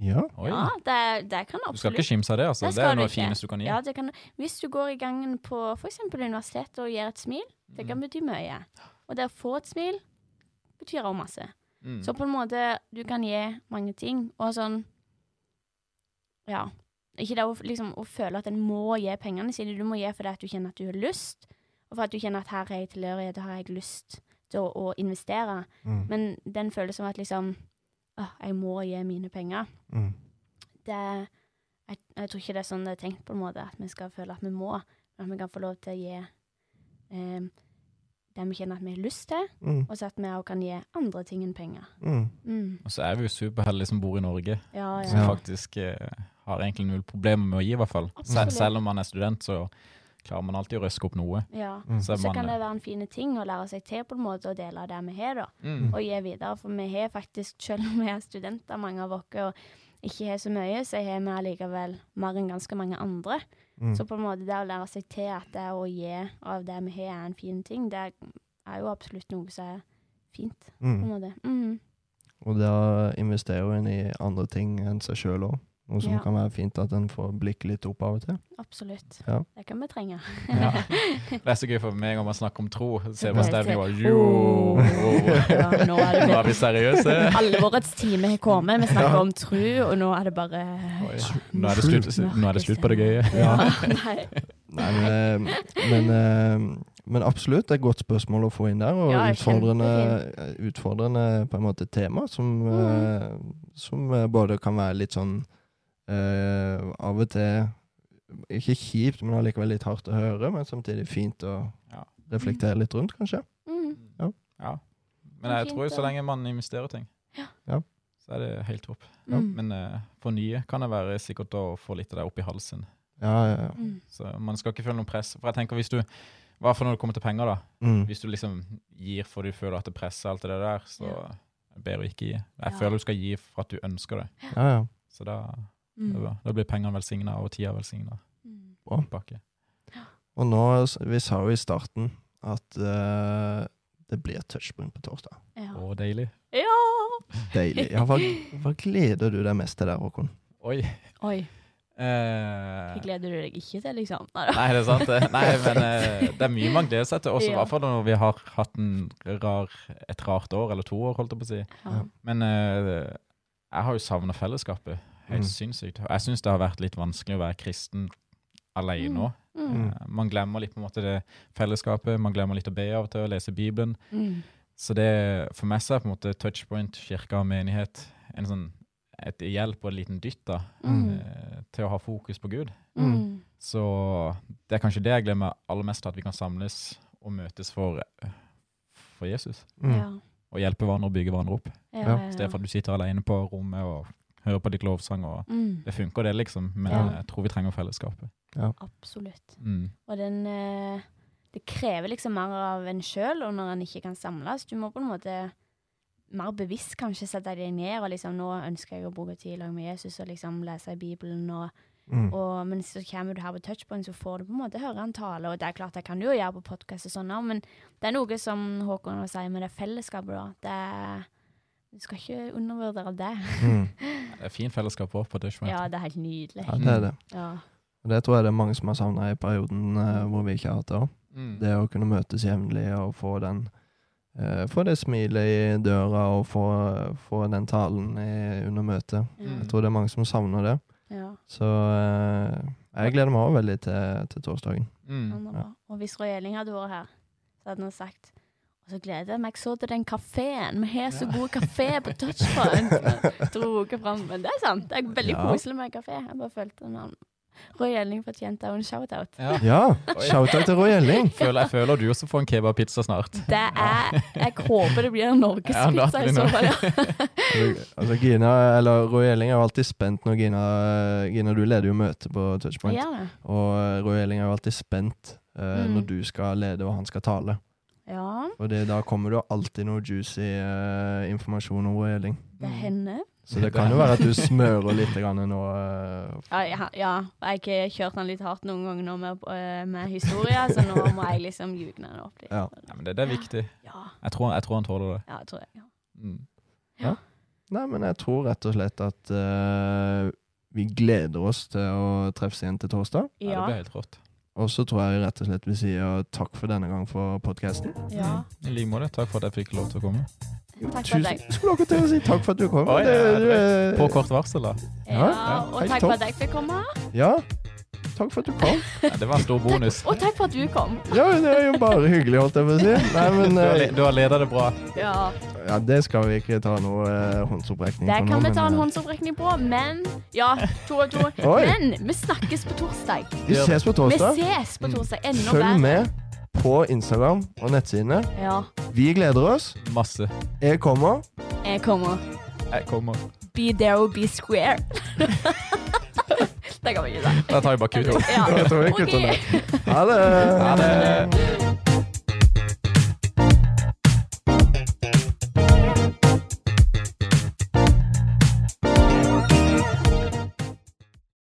Speaker 1: ja.
Speaker 3: Oi.
Speaker 2: Ja, det, det kan
Speaker 3: Du skal
Speaker 2: absolutt
Speaker 3: ikke skimse av det, altså.
Speaker 2: Det
Speaker 3: Det er
Speaker 2: skal du
Speaker 3: noe
Speaker 2: ikke.
Speaker 3: fineste du kan gi.
Speaker 2: ja, det kan, Hvis du går i gangen på f.eks. universitetet og gir et smil, det
Speaker 3: Mm.
Speaker 2: kan bety mye. Og det å få et smil betyr også masse.
Speaker 3: Mm.
Speaker 2: Så på en måte, du kan gi mange ting, og sånn Ja. Ikke det å, f- liksom, å føle at en må gi pengene sine. Du må gi fordi at du kjenner at du har lyst, og for at du kjenner at her er jeg tilhørighet, og her har jeg lyst til å, å investere.
Speaker 1: Mm.
Speaker 2: Men den følelsen av at liksom «Åh, jeg må gi mine penger.
Speaker 1: Mm.
Speaker 2: Det, jeg, jeg tror ikke det er sånn det er tenkt på en måte, at vi skal føle at vi må, men at vi kan få lov til å gi eh, det vi kjenner at vi har lyst til,
Speaker 1: Mm.
Speaker 2: og så at vi også kan gi andre ting enn penger.
Speaker 1: Mm.
Speaker 2: Mm.
Speaker 3: Og så er vi jo superheldige som bor i Norge,
Speaker 2: Ja,
Speaker 3: som
Speaker 2: ja.
Speaker 1: Ja.
Speaker 3: faktisk eh, har egentlig null problemer med å gi, i hvert fall. Sel
Speaker 2: Absolutt.
Speaker 3: selv om man er student, så klarer man alltid å røske opp noe.
Speaker 2: ja.
Speaker 1: Mm.
Speaker 3: Så, er
Speaker 2: Så
Speaker 3: man,
Speaker 2: kan det være en fin ting å lære seg til på en måte, og dele av det vi har, da.
Speaker 3: mm,
Speaker 2: og gi videre. For vi har faktisk, selv om vi er studenter, mange av oss, og ikke har så mye, så har vi allikevel mer enn ganske mange andre.
Speaker 1: Mm.
Speaker 2: Så på en måte det å lære seg til at det å gi av det vi har, er en fin ting, det er jo absolutt noe som er fint. på
Speaker 1: Mm.
Speaker 2: en måte. Mm.
Speaker 1: Og da investerer en i andre ting enn seg sjøl òg. Noe som
Speaker 2: Ja.
Speaker 1: kan være fint at en får blikket litt opp av og til.
Speaker 2: Absolutt.
Speaker 1: Ja.
Speaker 2: Det kan vi trenge.
Speaker 3: ja. Det er så gøy for meg om man snakker om tro. Ser man
Speaker 2: Ja.
Speaker 3: stemninga
Speaker 2: Oh.
Speaker 3: Jo!
Speaker 2: Ja, nå
Speaker 3: Nå
Speaker 2: er det
Speaker 3: er vi seriøse.
Speaker 2: Alvorets time har kommet. Vi snakker om tru, og nå er det bare
Speaker 3: Oi, Nå er det slutt, nå er det slutt på det gøye.
Speaker 2: Nei.
Speaker 1: Nei, men, eh, men, eh, men absolutt, det er et godt spørsmål å få inn der, og
Speaker 2: Ja,
Speaker 1: utfordrende, utfordrende på en måte tema, som,
Speaker 2: Mm.
Speaker 1: eh, som eh, både kan være litt sånn eh, av og til ikke kjipt, men allikevel litt hardt å høre, men samtidig fint å
Speaker 3: Ja.
Speaker 1: reflektere litt rundt, kanskje.
Speaker 2: Mm.
Speaker 1: Ja.
Speaker 3: Ja. Men jeg
Speaker 2: Fint,
Speaker 3: tror jo så
Speaker 2: da.
Speaker 3: lenge man investerer ting,
Speaker 1: Ja.
Speaker 3: så er det helt topp.
Speaker 1: Ja,
Speaker 2: Mm.
Speaker 3: Men eh, for nye kan det være sikkert å få litt av det opp i halsen.
Speaker 1: Ja, ja, ja.
Speaker 2: Mm.
Speaker 3: Så man skal ikke føle noe press. For jeg tenker hvis du, i hvert fall når det kommer til penger, da.
Speaker 1: Mm.
Speaker 3: Hvis du liksom gir for du føler at det presser alt det der, så
Speaker 2: Ja.
Speaker 3: er det bedre å ikke gi. Jeg
Speaker 2: Ja.
Speaker 3: føler du skal gi for at du ønsker det.
Speaker 1: ja, ja.
Speaker 3: Så da,
Speaker 2: Mm.
Speaker 3: da, da blir pengene velsigna, og tida velsigna.
Speaker 2: Mm.
Speaker 3: Tilbake.
Speaker 1: Og nå, vi sa jo i starten at eh, det blir touchpoint på torsdag.
Speaker 2: Ja.
Speaker 3: Og deilig.
Speaker 2: ja!
Speaker 1: Deilig. Ja, hva, hva gleder du deg mest til der, Håkon?
Speaker 3: Oi.
Speaker 2: Oi.
Speaker 3: Eh,
Speaker 2: Hva gleder du deg ikke til, liksom? Neida.
Speaker 3: Nei, det er sant. det. Nei, men eh, det er mye man gleder seg til, også i
Speaker 2: Ja.
Speaker 3: hvert fall når vi har hatt en rar, et rart år, eller to år, holdt jeg på å si.
Speaker 2: Ja.
Speaker 3: Men eh, jeg har jo savna fellesskapet. Helt
Speaker 1: Mm.
Speaker 3: sinnssykt. Og jeg syns det har vært litt vanskelig å være kristen alene
Speaker 2: Mm.
Speaker 3: nå.
Speaker 2: Mm.
Speaker 1: Mm.
Speaker 3: Eh, Man glemmer litt på en måte det fellesskapet, man glemmer litt å be av og til, å lese Bibelen.
Speaker 2: Mm.
Speaker 3: Så det, for meg så er på en måte touchpoint, kirke og menighet en sånn, et hjelp og en liten dytt da,
Speaker 2: Mm.
Speaker 3: eh, til å ha fokus på Gud.
Speaker 2: Mm.
Speaker 3: Så det er kanskje det jeg glemmer aller mest, at vi kan samles og møtes for, eh, for Jesus.
Speaker 2: Mm.
Speaker 1: Mm.
Speaker 2: Ja.
Speaker 3: Og hjelpe hverandre og bygge hverandre opp.
Speaker 2: Ja,
Speaker 1: Ja.
Speaker 2: ja,
Speaker 3: I
Speaker 2: ja.
Speaker 3: stedet for at du sitter alene på rommet og hører på ditt lovsang. Og
Speaker 2: Mm.
Speaker 3: det funker det liksom, men
Speaker 2: Ja.
Speaker 3: jeg tror vi trenger fellesskapet.
Speaker 2: Absolutt.
Speaker 3: Mm.
Speaker 2: Og den eh, Det krever liksom mer av en sjøl, og når en ikke kan samles. Du må på en måte mer bevisst kanskje sette deg ned og liksom Nå ønsker jeg å bruke tid i lag med Jesus og liksom lese i Bibelen og
Speaker 1: Mm.
Speaker 2: Og, men så kommer du her på touchpoint, så får du på en måte høre han tale. Og det er klart, det kan du jo gjøre på podkast og sånn, også, men det er noe som Håkon også sier med det fellesskapet, da. Det er, du skal ikke undervurdere det.
Speaker 1: Mm.
Speaker 3: Det er fint fellesskap også på touchpoint.
Speaker 2: Ja, det er helt nydelig.
Speaker 1: Ja, det er det.
Speaker 2: Ja.
Speaker 1: Og det tror jeg det er mange som har savna i perioden eh, hvor vi ikke har hatt det òg.
Speaker 3: Mm.
Speaker 1: Det å kunne møtes jevnlig og få den eh, Få det smilet i døra og få, få den talen i, under møtet.
Speaker 2: Ja.
Speaker 1: Jeg tror det er mange som savner det.
Speaker 2: ja.
Speaker 1: Så eh, jeg gleder meg òg veldig til, til torsdagen.
Speaker 3: Mm.
Speaker 2: Han er bra. Sånn, Og hvis Roy Elling hadde vært her, så hadde han sagt og så gleder jeg meg så til den kafeen. Vi har så
Speaker 3: Ja.
Speaker 2: god kafé på Touchpoint. Jeg dro ikke fram, Men det er sant. Det er veldig
Speaker 1: Ja.
Speaker 2: koselig med kafé. Jeg bare følte den han Roy Elling fortjente også en shout-out.
Speaker 3: Ja.
Speaker 1: Ja!
Speaker 3: Oi.
Speaker 1: Shout-out til Roy Elling!
Speaker 3: Føler, jeg føler du også får en kebabpizza snart.
Speaker 2: Det er Jeg håper det blir en
Speaker 3: Ja, da
Speaker 2: norgespizza
Speaker 3: blir
Speaker 2: i
Speaker 3: det
Speaker 2: så
Speaker 3: noe.
Speaker 2: fall. ja.
Speaker 1: Altså, altså Gina, eller Roy Elling er jo alltid spent når Gina Gina, du leder jo møtet på Touchpoint.
Speaker 2: Ja.
Speaker 1: Og eh, Roy Elling er jo alltid spent eh,
Speaker 2: Mm.
Speaker 1: når du skal lede og han skal tale.
Speaker 2: ja,
Speaker 1: Og det, da kommer det jo alltid noe juicy eh, informasjon om Roy Elling.
Speaker 3: Mm.
Speaker 2: det hender.
Speaker 1: Så det kan jo være at du smører litt grann nå. eh,
Speaker 2: Ja, ja, ja. Jeg har kjørt den litt hardt noen ganger nå med, eh, med historie, så nå må jeg liksom ljugne den opp litt.
Speaker 1: Ja.
Speaker 3: Ja, men det, det er viktig.
Speaker 2: Ja,
Speaker 3: Jeg tror, jeg tror han tåler det.
Speaker 2: ja, tror jeg. Ja.
Speaker 3: Mm.
Speaker 1: nei, men jeg tror rett og slett at eh, vi gleder oss til å treffes igjen til torsdag.
Speaker 3: Ja. det
Speaker 2: Ja.
Speaker 3: blir helt rått.
Speaker 1: Og så tror jeg rett og slett vi sier takk for denne gang for podkasten.
Speaker 2: ja.
Speaker 3: I like måte. Takk for at jeg fikk lov til å komme.
Speaker 2: Takk for
Speaker 1: Tusen
Speaker 2: at jeg
Speaker 1: skulle akkurat til å si takk for at du kom.
Speaker 3: Oi,
Speaker 1: Det-
Speaker 3: ja,
Speaker 1: du er- eh,
Speaker 3: På kort varsel, da.
Speaker 1: Ja,
Speaker 2: Ja, og
Speaker 1: helt
Speaker 2: takk
Speaker 1: topp.
Speaker 2: for at jeg fikk komme.
Speaker 1: Ja. Takk for at du kom.
Speaker 3: Ja, det var en stor bonus.
Speaker 2: Og takk for at du kom.
Speaker 1: Ja, det er jo bare hyggelig, holdt jeg på å si. Nei,
Speaker 3: Du
Speaker 1: men
Speaker 3: har,
Speaker 1: eh,
Speaker 3: le- du har leda det bra.
Speaker 2: Ja,
Speaker 1: ja, Det skal vi ikke ta noe eh, håndsopprekning
Speaker 2: Der
Speaker 1: på nå.
Speaker 2: kan vi ta
Speaker 1: men,
Speaker 2: en
Speaker 1: eh,
Speaker 2: håndsopprekning på, men Ja, to og to.
Speaker 1: Oi.
Speaker 2: Men vi snakkes på torsdag.
Speaker 1: Vi ses på
Speaker 2: Vi
Speaker 1: torsdag.
Speaker 2: ses på torsdag. Enda
Speaker 1: Følg
Speaker 2: bedre.
Speaker 1: med på Instagram og nettsidene.
Speaker 2: Ja,
Speaker 1: Vi gleder oss.
Speaker 3: Masse.
Speaker 1: Jeg kommer.
Speaker 2: jeg kommer.
Speaker 3: Jeg kommer.
Speaker 2: Be there or be square. det kan vi ikke si.
Speaker 3: Da tar jeg bare kutt.
Speaker 2: Ja.
Speaker 1: Jeg tror jeg kutter
Speaker 2: Ok.
Speaker 1: Ha det.
Speaker 3: Ha det.